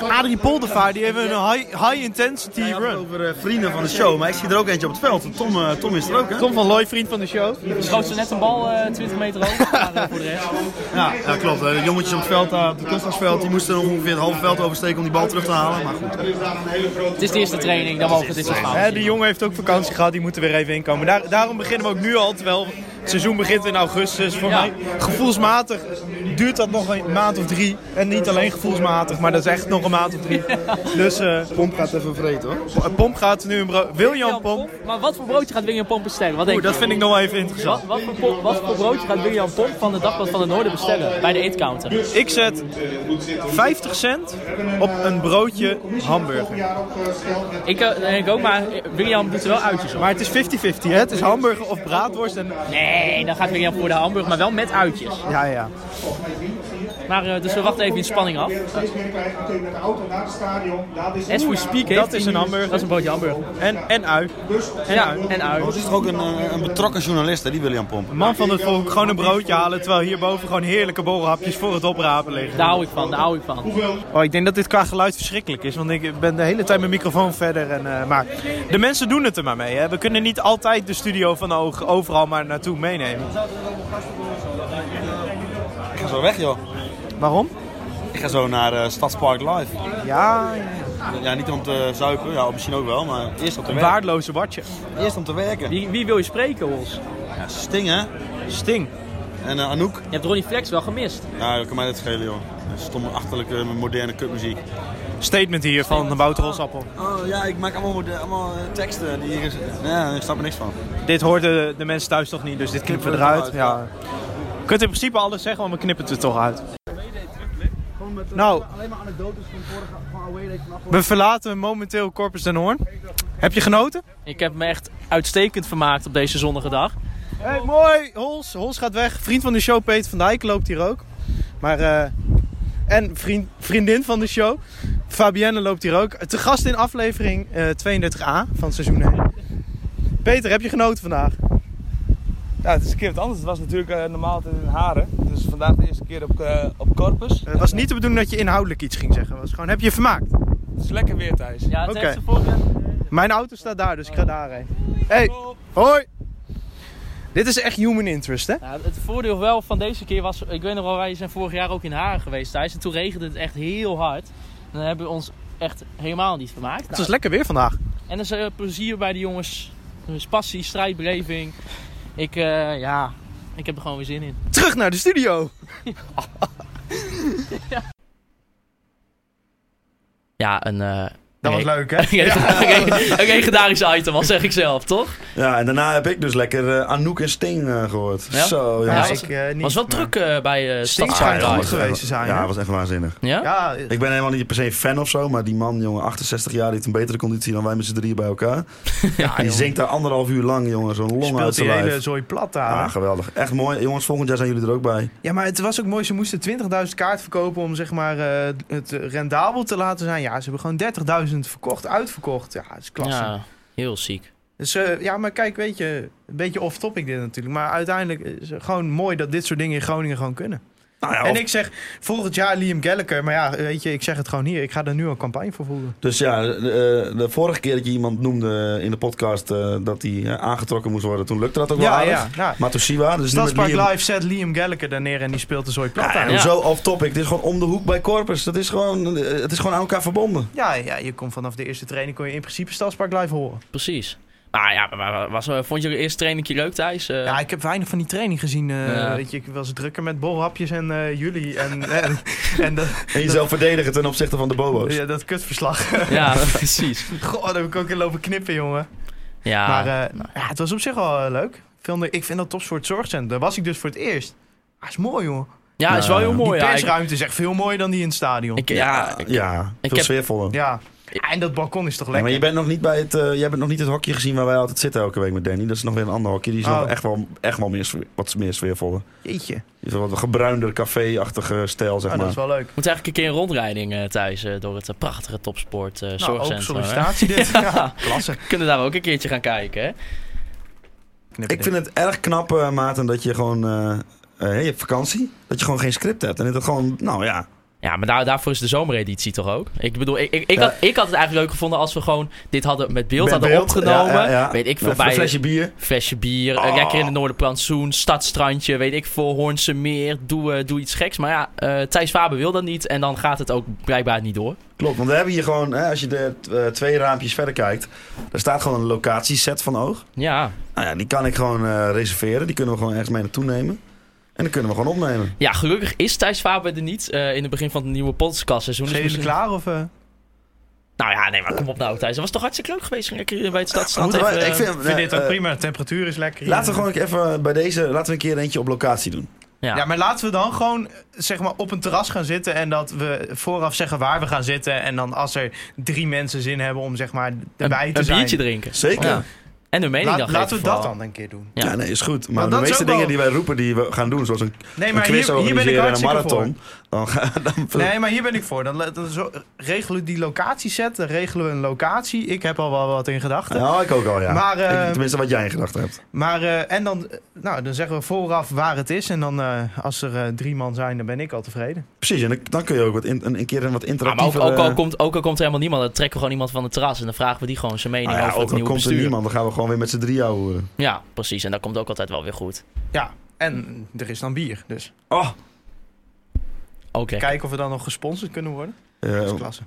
[SPEAKER 5] Ja, Adrie Poldervaart, die heeft een high, high intensity run.
[SPEAKER 6] Over eh, vrienden van de show, maar ik zie er ook eentje op het veld. En Tom, eh, Tom is er ook, hè?
[SPEAKER 5] Tom van Looy, vriend van de show.
[SPEAKER 7] schoot ze net een bal eh, 20 meter hoog, maar eh, voor de rest.
[SPEAKER 6] Ja, ja klopt. hè. De jongetjes op het veld, daar, op het kunstgrasveld, die moesten nog ongeveer het halve veld oversteken om die bal terug te halen. Maar goed.
[SPEAKER 7] Het is de eerste training, dan mogen we dit soort fouten.
[SPEAKER 5] Hè, die jongen heeft ook vakantie gehad, die moet er weer even inkomen. Daar, daarom beginnen we ook nu al, terwijl het seizoen begint in augustus. Voor
[SPEAKER 7] Ja.
[SPEAKER 5] mij gevoelsmatig duurt dat nog een maand of drie. En niet alleen gevoelsmatig, maar dat is echt nog een maand of drie. <laughs> Dus eh,
[SPEAKER 6] Pomp gaat even vreten, hoor.
[SPEAKER 5] Pomp gaat nu een brood. William Pomp.
[SPEAKER 7] Maar wat voor broodje gaat William Pomp bestellen? Wat denk
[SPEAKER 5] Oeh, dat
[SPEAKER 7] je?
[SPEAKER 5] vind ik nog wel even interessant.
[SPEAKER 7] Wat, wat, voor, pom- wat voor broodje gaat William Pomp van de Dagblad van het Noorden bestellen? Bij de eetcounter.
[SPEAKER 5] Ik zet 50 cent op een broodje hamburger.
[SPEAKER 7] Ik eh, denk ook, maar eh, William doet er wel uitjes op.
[SPEAKER 5] Maar het is 50-50, hè? Het is hamburger of braadworst. En...
[SPEAKER 7] Nee, dan gaat William voor de hamburger, maar wel met uitjes.
[SPEAKER 5] Ja, ja.
[SPEAKER 7] Maar, eh, dus we wachten even in spanning af. As we speak heeft
[SPEAKER 5] Dat is
[SPEAKER 7] hij
[SPEAKER 5] een
[SPEAKER 7] nu-
[SPEAKER 5] hamburger.
[SPEAKER 7] Dat is een broodje hamburger.
[SPEAKER 5] En, en ui.
[SPEAKER 7] En ja, en ui.
[SPEAKER 6] Dat is toch ook een, eh, een betrokken journalist, hè, die William Pomp.
[SPEAKER 5] Man van het volk, gewoon een broodje halen. Terwijl hierboven gewoon heerlijke borrelhapjes voor het oprapen liggen.
[SPEAKER 7] Daar hou ik van, daar hou ik van.
[SPEAKER 5] Oh, ik denk dat dit qua geluid verschrikkelijk is. Want ik ben de hele tijd mijn microfoon verder. En, eh, maar de mensen doen het er maar mee. Hè. We kunnen niet altijd de studio van oog overal maar naartoe meenemen.
[SPEAKER 6] Ik ga zo weg, joh.
[SPEAKER 5] Waarom?
[SPEAKER 6] Ik ga zo naar eh, Stadspark Live.
[SPEAKER 5] Ja,
[SPEAKER 6] Ja, niet om te zuipen, ja, misschien ook wel, maar eerst om te
[SPEAKER 5] een
[SPEAKER 6] werken.
[SPEAKER 5] waardeloze watje.
[SPEAKER 6] Eerst om te werken.
[SPEAKER 7] Wie, wie wil je spreken, Hols?
[SPEAKER 6] Ja, Sting, hè?
[SPEAKER 5] Sting.
[SPEAKER 6] En eh, Anouk.
[SPEAKER 7] Je hebt Ronnie Flex wel gemist.
[SPEAKER 6] Ja, dat kan mij dat schelen, joh. Dat is Stomme, achterlijke, moderne kutmuziek.
[SPEAKER 5] Statement hier van Wouter Rosappel.
[SPEAKER 6] Oh ja, ik maak allemaal, mode- allemaal eh, teksten. Die hier is... Ja, ik snap er niks van.
[SPEAKER 5] Dit hoorden de mensen thuis toch niet, dus dit knippen we eruit. Ja. Je kunt in principe alles zeggen, maar we knippen het er toch uit. Nou, we verlaten momenteel Corpus den Hoorn. Heb je genoten?
[SPEAKER 7] Ik heb me echt uitstekend vermaakt op deze zonnige dag.
[SPEAKER 5] Hey, mooi! Hols, Hols gaat weg. Vriend van de show Peter van Dijk loopt hier ook. Maar, eh, en vriend, vriendin van de show, Fabienne loopt hier ook. Te gast in aflevering eh, 32a van seizoen 1. Peter, heb je genoten vandaag?
[SPEAKER 10] Ja, het is een keer wat anders. Het was natuurlijk eh, normaal altijd in Haren. Dus vandaag de eerste keer op, eh, op Corpus.
[SPEAKER 5] Het was niet de bedoeling dat je inhoudelijk iets ging zeggen. Het was gewoon, heb je je vermaakt?
[SPEAKER 10] Het is lekker weer, Thijs.
[SPEAKER 7] Ja, het
[SPEAKER 5] Oké.
[SPEAKER 7] heeft de vorige...
[SPEAKER 5] Mijn auto staat daar, dus ik ga daarheen. Hey, hoi! Dit is echt human interest, hè?
[SPEAKER 7] Nou, het voordeel wel van deze keer was, ik weet nog wel, wij zijn vorig jaar ook in Haren geweest Thijs. En toen regende het echt heel hard. En dan hebben we ons echt helemaal niet vermaakt.
[SPEAKER 5] Het
[SPEAKER 7] Nou,
[SPEAKER 5] is lekker weer vandaag.
[SPEAKER 7] En er is eh, plezier bij de jongens. Er is passie, strijdbeleving. Ik, eh, ja, ik heb er gewoon weer zin in.
[SPEAKER 5] Terug naar de studio.
[SPEAKER 4] Ja, een... eh,
[SPEAKER 5] Dat was
[SPEAKER 4] een-
[SPEAKER 5] leuk, hè?
[SPEAKER 4] <laughs> Een, een- een legendarisch item, al zeg ik zelf, toch?
[SPEAKER 6] Ja, en daarna heb ik dus lekker eh, Anouk en Steen eh, gehoord.
[SPEAKER 4] Ja?
[SPEAKER 6] Zo,
[SPEAKER 5] Ja,
[SPEAKER 6] jongens.
[SPEAKER 5] ik eh, niet.
[SPEAKER 4] was wel
[SPEAKER 5] maar-
[SPEAKER 4] druk eh, bij eh
[SPEAKER 5] Stinks
[SPEAKER 6] Ah,
[SPEAKER 5] schijnt
[SPEAKER 6] ja,
[SPEAKER 4] Stadskanaal.
[SPEAKER 5] goed
[SPEAKER 6] was
[SPEAKER 5] goed geweest te zijn,
[SPEAKER 6] Ja,
[SPEAKER 5] hè?
[SPEAKER 6] dat was echt waanzinnig.
[SPEAKER 4] Ja?
[SPEAKER 5] Ja,
[SPEAKER 6] Ik ben helemaal niet per se fan of zo, maar die man, jongen, 68 jaar, die heeft een betere conditie dan wij met z'n drieën bij elkaar. en die zingt daar anderhalf uur lang, jongen, zo'n long uit
[SPEAKER 5] Ah, speelt
[SPEAKER 6] zijn
[SPEAKER 5] die hele
[SPEAKER 6] lijf.
[SPEAKER 5] zooi plat aan.
[SPEAKER 6] Ah, geweldig. Echt mooi. Jongens, volgend jaar zijn jullie er ook bij.
[SPEAKER 5] Ja, maar het was ook mooi. Ze moesten 20.000 kaart verkopen om zeg maar, eh, het rendabel te laten zijn. Ja, ze hebben gewoon 30.000 verkocht, uitverkocht. Ja, dat is klasse.
[SPEAKER 4] Ja, heel ziek.
[SPEAKER 5] Dus, eh, ja, maar kijk, weet je, een beetje off-topic dit natuurlijk. Maar uiteindelijk is het gewoon mooi dat dit soort dingen in Groningen gewoon kunnen.
[SPEAKER 6] Nou ja,
[SPEAKER 5] En
[SPEAKER 6] of-
[SPEAKER 5] ik zeg volgend jaar Liam Gallagher. Maar ja, weet je, ik zeg het gewoon hier. Ik ga er nu een campagne voor voeren.
[SPEAKER 6] Dus ja, de, eh, de vorige keer dat je iemand noemde in de podcast eh, dat hij eh, aangetrokken moest worden, toen lukte dat ook wel
[SPEAKER 5] Ja,
[SPEAKER 6] aardig.
[SPEAKER 5] ja. Nou,
[SPEAKER 6] Matosiwa, dus nu met
[SPEAKER 5] Stadspark
[SPEAKER 6] Liam-
[SPEAKER 5] Live zet Liam Gallagher daar neer en die speelt de zooi plat
[SPEAKER 6] Ja,
[SPEAKER 5] aan.
[SPEAKER 6] en Zo off-topic. Dit is gewoon om de hoek bij Corpus. Dat is gewoon, eh, het is gewoon aan elkaar verbonden.
[SPEAKER 5] Ja, ja, je komt vanaf de eerste training kon je in principe Stadspark Live horen.
[SPEAKER 4] Precies. Maar ja, maar- maar was, eh, vond je je eerste trainingje leuk, Thijs? Eh,
[SPEAKER 5] Ja, ik heb weinig van die training gezien. eh,
[SPEAKER 4] Ja.
[SPEAKER 5] Weet je, ik was drukker met bolhapjes en eh, <laughs> jullie. En, en, en dat,
[SPEAKER 6] En jezelf verdedigen ten opzichte van de bobo's.
[SPEAKER 5] ja, dat kutverslag.
[SPEAKER 4] <laughs> ja, precies.
[SPEAKER 5] <laughs> Goh, daar heb ik ook in lopen knippen, jongen.
[SPEAKER 4] Ja,
[SPEAKER 5] maar eh, ja, het was op zich wel eh, leuk. Ik vind- Ik vind dat topsport zorgcentrum. Daar was ik dus voor het eerst. Dat is mooi, jongen.
[SPEAKER 4] ja is wel heel mooi.
[SPEAKER 5] die
[SPEAKER 4] Ja, ik,
[SPEAKER 5] persruimte is echt veel mooier dan die in het stadion.
[SPEAKER 4] ik- ja, ik-
[SPEAKER 6] Ja,
[SPEAKER 4] ik
[SPEAKER 6] veel
[SPEAKER 4] heb-
[SPEAKER 6] sfeervoller.
[SPEAKER 5] ja. Ja, en dat balkon is toch
[SPEAKER 6] Ja,
[SPEAKER 5] lekker?
[SPEAKER 6] maar je bent nog niet bij het, eh, jij bent nog niet het hokje gezien waar wij altijd zitten elke week met Danny. Dat is nog weer een ander hokje. Die is
[SPEAKER 5] Oh.
[SPEAKER 6] nog echt wel, echt wel meer, sfeer- wat meer sfeervoller.
[SPEAKER 5] Jeetje.
[SPEAKER 6] Die is wel wat een gebruinder café-achtige stijl, zeg
[SPEAKER 5] Oh, dat
[SPEAKER 6] maar.
[SPEAKER 5] is wel leuk.
[SPEAKER 4] moet eigenlijk een keer een rondrijding eh, Thijs eh, door het eh, prachtige topsport eh
[SPEAKER 5] Nou, open
[SPEAKER 4] zorgcentrum. hè?
[SPEAKER 5] sollicitatie dit.
[SPEAKER 4] Ja.
[SPEAKER 5] Ja, klasse.
[SPEAKER 4] We <laughs> kunnen daar ook een keertje gaan kijken, hè?
[SPEAKER 5] Knippen
[SPEAKER 6] Ik vind het erg knap, eh Maarten, dat je gewoon... eh, eh, je hebt vakantie, dat je gewoon geen script hebt. En dat het gewoon, nou ja,
[SPEAKER 4] Ja, maar daar, daarvoor is de zomereditie toch ook? Ik bedoel, ik, ik, ik,
[SPEAKER 6] Ja.
[SPEAKER 4] had, ik had het eigenlijk leuk gevonden als we gewoon dit hadden met beeld
[SPEAKER 6] Met
[SPEAKER 4] hadden
[SPEAKER 6] beeld,
[SPEAKER 4] opgenomen.
[SPEAKER 6] ja, ja, ja.
[SPEAKER 4] Weet ik veel,
[SPEAKER 6] Even
[SPEAKER 4] bij
[SPEAKER 6] een flesje Oh. bier.
[SPEAKER 4] flesje bier, eh, lekker in de Noorderplantsoen, stadstrandje, weet ik veel, Hoornse meer, doe, eh, doe iets geks. Maar ja, eh, Thijs Faber wil dat niet en dan gaat het ook blijkbaar niet door.
[SPEAKER 6] Klopt, want we hebben hier gewoon, hè, als je de eh, twee raampjes verder kijkt, daar staat gewoon een locatieset van oog.
[SPEAKER 4] Ja,
[SPEAKER 6] Nou ja, die kan ik gewoon eh, reserveren, die kunnen we gewoon ergens mee naartoe nemen. En dan kunnen we gewoon opnemen.
[SPEAKER 4] ja gelukkig is Thijs Faber er niet eh, in het begin van het nieuwe podcastseizoen. Dus
[SPEAKER 5] Zijn jullie
[SPEAKER 4] misschien-
[SPEAKER 5] klaar? Of, eh?
[SPEAKER 4] Nou ja, nee, maar kom op nou Thijs, dat was toch hartstikke leuk geweest lekker bij het stadstrand.
[SPEAKER 6] Moeten wij-
[SPEAKER 4] even, eh,
[SPEAKER 5] Ik vind dit ook
[SPEAKER 6] eh,
[SPEAKER 5] prima. De temperatuur is lekker. hier.
[SPEAKER 6] Laten we gewoon even bij deze, laten we een keer eentje op locatie doen.
[SPEAKER 4] ja.
[SPEAKER 5] Ja, maar laten we dan gewoon eh, zeg maar, op een terras gaan zitten en dat we vooraf zeggen waar we gaan zitten. En dan als er drie mensen zin hebben om zeg maar, erbij
[SPEAKER 4] een,
[SPEAKER 5] te
[SPEAKER 4] een
[SPEAKER 5] zijn.
[SPEAKER 4] biertje drinken.
[SPEAKER 6] Zeker.
[SPEAKER 4] Ja.
[SPEAKER 6] Ja,
[SPEAKER 4] En hun mening
[SPEAKER 5] Laat-
[SPEAKER 4] dan
[SPEAKER 5] laten
[SPEAKER 4] geven
[SPEAKER 5] we dat
[SPEAKER 4] vooral.
[SPEAKER 5] dan een keer doen.
[SPEAKER 4] Ja.
[SPEAKER 6] nee, is goed. Maar
[SPEAKER 5] Want
[SPEAKER 6] de
[SPEAKER 5] dat is
[SPEAKER 6] meeste
[SPEAKER 5] ook wel-
[SPEAKER 6] dingen die wij roepen, die we gaan doen, zoals een,
[SPEAKER 5] Nee,
[SPEAKER 6] een
[SPEAKER 5] maar
[SPEAKER 6] quiz
[SPEAKER 5] hier, hier ben ik
[SPEAKER 6] organiseren en een
[SPEAKER 5] hartstikke
[SPEAKER 6] marathon. Dan ga- <laughs> dan-
[SPEAKER 5] voor. Nee, maar hier ben ik voor. Dan, le- dan zo, regelen we die locatieset, dan regelen we een locatie. Ik heb al wel wat in gedachten.
[SPEAKER 6] Ja, ik ook al, ja.
[SPEAKER 5] Maar, eh,
[SPEAKER 6] Ik- tenminste, wat jij in gedachten hebt.
[SPEAKER 5] Maar, eh, en dan, eh, nou, dan zeggen we vooraf waar het is. En dan, eh, als er eh, drie man zijn, dan ben ik al tevreden.
[SPEAKER 6] Precies, en dan- dan kun je ook wat in, een, een keer een wat
[SPEAKER 4] Ja, maar ook,
[SPEAKER 6] interactieve...
[SPEAKER 4] ook, al
[SPEAKER 6] eh,
[SPEAKER 4] komt, ook al komt er helemaal niemand, dan trekken we gewoon iemand van het terras en dan vragen we die gewoon zijn mening
[SPEAKER 6] nou ja,
[SPEAKER 4] over
[SPEAKER 6] ook
[SPEAKER 4] het
[SPEAKER 6] al
[SPEAKER 4] nieuwe
[SPEAKER 6] komt er
[SPEAKER 4] bestuur.
[SPEAKER 6] niemand, dan gaan we gewoon weer met z'n drieën horen.
[SPEAKER 4] Ja, precies. En dat komt ook altijd wel weer goed.
[SPEAKER 5] Ja, en er is dan bier. Dus
[SPEAKER 6] Oh,
[SPEAKER 4] Oké.
[SPEAKER 5] kijken of we dan nog gesponsord kunnen worden. Dat
[SPEAKER 6] Oh.
[SPEAKER 5] is klasse.
[SPEAKER 6] Eh,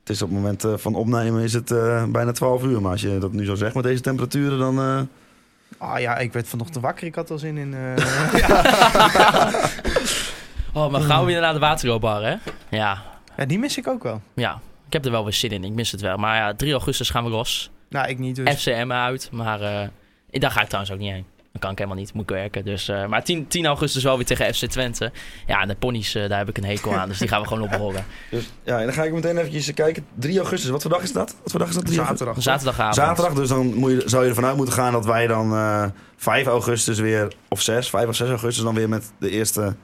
[SPEAKER 6] Het is op het moment eh, van opnemen is het eh, bijna 12 uur. Maar als je dat nu zo zegt met deze temperaturen, dan... eh,
[SPEAKER 5] Ah ja, ik werd vanochtend wakker. Ik had al zin in... eh, <laughs>
[SPEAKER 4] Oh, maar gaan we weer naar de waterloopbar, hè? Ja.
[SPEAKER 5] Ja, die mis ik ook wel.
[SPEAKER 4] Ja. Ik heb er wel weer zin in. Ik mis het wel. Maar ja, 3 augustus gaan we los.
[SPEAKER 5] Nou, ik niet dus.
[SPEAKER 4] FCM uit. Maar eh, daar ga ik trouwens ook niet heen. Dan kan ik helemaal niet. Moet ik werken. Dus, eh, maar 10, 10 augustus wel weer tegen FC Twente. Ja, en de ponies, eh, daar heb ik een hekel aan. Dus die gaan we gewoon
[SPEAKER 6] <laughs>
[SPEAKER 4] ophoren.
[SPEAKER 6] dus, ja, en dan ga ik meteen eventjes kijken. 3 augustus, wat voor dag is dat? Wat voor dag is dat? 3 augustus?
[SPEAKER 5] Zaterdag.
[SPEAKER 4] Zaterdagavond.
[SPEAKER 6] Zaterdag, dus dan moet je, zou je ervan uit moeten gaan dat wij dan eh 5 augustus weer... Of 6, 5 of 6 augustus dan weer met de eerste...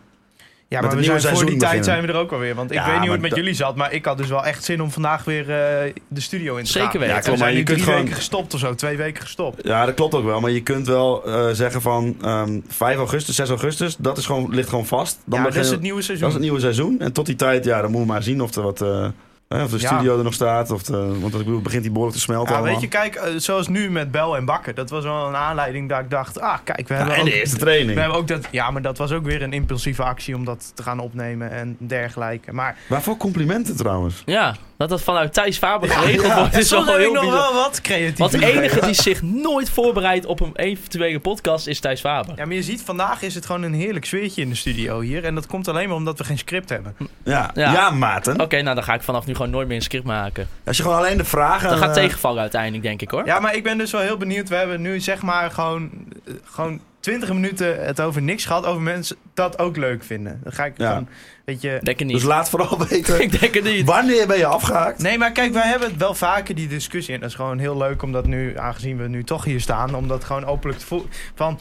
[SPEAKER 5] Ja,
[SPEAKER 6] Met
[SPEAKER 5] maar
[SPEAKER 6] het
[SPEAKER 5] we
[SPEAKER 6] nieuwe
[SPEAKER 5] zijn voor die
[SPEAKER 6] seizoen
[SPEAKER 5] tijd
[SPEAKER 6] beginnen.
[SPEAKER 5] zijn we er ook alweer. Want ik
[SPEAKER 6] Ja,
[SPEAKER 5] weet niet hoe
[SPEAKER 6] maar
[SPEAKER 5] het met
[SPEAKER 6] dat-
[SPEAKER 5] jullie zat, maar ik had dus wel echt zin om vandaag weer eh, de studio in te
[SPEAKER 4] Zeker
[SPEAKER 5] gaan.
[SPEAKER 4] weten. Ja,
[SPEAKER 5] Ja,
[SPEAKER 6] klopt, maar
[SPEAKER 5] maar
[SPEAKER 6] je
[SPEAKER 5] je
[SPEAKER 6] kunt
[SPEAKER 5] drie
[SPEAKER 6] gewoon-
[SPEAKER 5] weken gestopt of zo, twee weken gestopt.
[SPEAKER 6] Ja, dat klopt ook wel. Maar je kunt wel eh, zeggen van ehm 5 augustus, 6 augustus. Dat is gewoon, ligt gewoon vast. Dan
[SPEAKER 5] ja, dat
[SPEAKER 6] beginnen-
[SPEAKER 5] is het nieuwe seizoen.
[SPEAKER 6] Dat is het nieuwe seizoen. En tot die tijd, ja, dan moeten we maar zien of, er wat, eh, eh, of de
[SPEAKER 5] Ja.
[SPEAKER 6] studio er nog staat. Of de, want ik bedoel, begint die behoorlijk te smelten
[SPEAKER 5] ja,
[SPEAKER 6] allemaal.
[SPEAKER 5] weet je, kijk, eh, zoals nu met Bel en Bakker. Dat was wel een aanleiding dat ik dacht, ah, kijk, we hebben
[SPEAKER 6] en de
[SPEAKER 5] ook...
[SPEAKER 6] eerste training.
[SPEAKER 5] We hebben ook dat, ja, maar dat was ook weer een impulsieve actie om dat te gaan opnemen en dergelijke. Maar
[SPEAKER 6] Waarvoor complimenten trouwens?
[SPEAKER 4] Ja, dat dat vanuit Thijs Faber geregeld wordt. is
[SPEAKER 5] Soms
[SPEAKER 4] wel
[SPEAKER 5] heb ik
[SPEAKER 4] heel
[SPEAKER 5] nog
[SPEAKER 4] bizar.
[SPEAKER 5] wel wat creatief.
[SPEAKER 4] Want de enige die zich nooit voorbereidt op een eventuele podcast is Thijs Faber.
[SPEAKER 5] Ja, maar je ziet, vandaag is het gewoon een heerlijk sfeertje in de studio hier. En dat komt alleen maar omdat we geen script hebben.
[SPEAKER 6] Ja,
[SPEAKER 4] Ja.
[SPEAKER 6] ja. Maarten.
[SPEAKER 4] Oké, nou dan ga ik vanaf nu gewoon nooit meer een script maken.
[SPEAKER 6] Als je gewoon alleen de vragen...
[SPEAKER 4] Dat gaat
[SPEAKER 6] eh,
[SPEAKER 4] tegenvallen uiteindelijk, denk ik hoor.
[SPEAKER 5] Ja, maar ik ben dus wel heel benieuwd. We hebben nu zeg maar gewoon, eh, gewoon 20 minuten het over niks gehad. Over mensen dat ook leuk vinden. Dan ga ik
[SPEAKER 6] Ja.
[SPEAKER 5] gewoon, weet je...
[SPEAKER 4] Denk het niet.
[SPEAKER 6] Dus laat vooral <laughs> weten,
[SPEAKER 4] <laughs> ik denk het niet.
[SPEAKER 6] wanneer ben je afgehaakt?
[SPEAKER 5] Nee, maar kijk, wij hebben het wel vaker die discussie. En dat is gewoon heel leuk om dat nu, aangezien we nu toch hier staan, om dat gewoon openlijk te voelen. Van,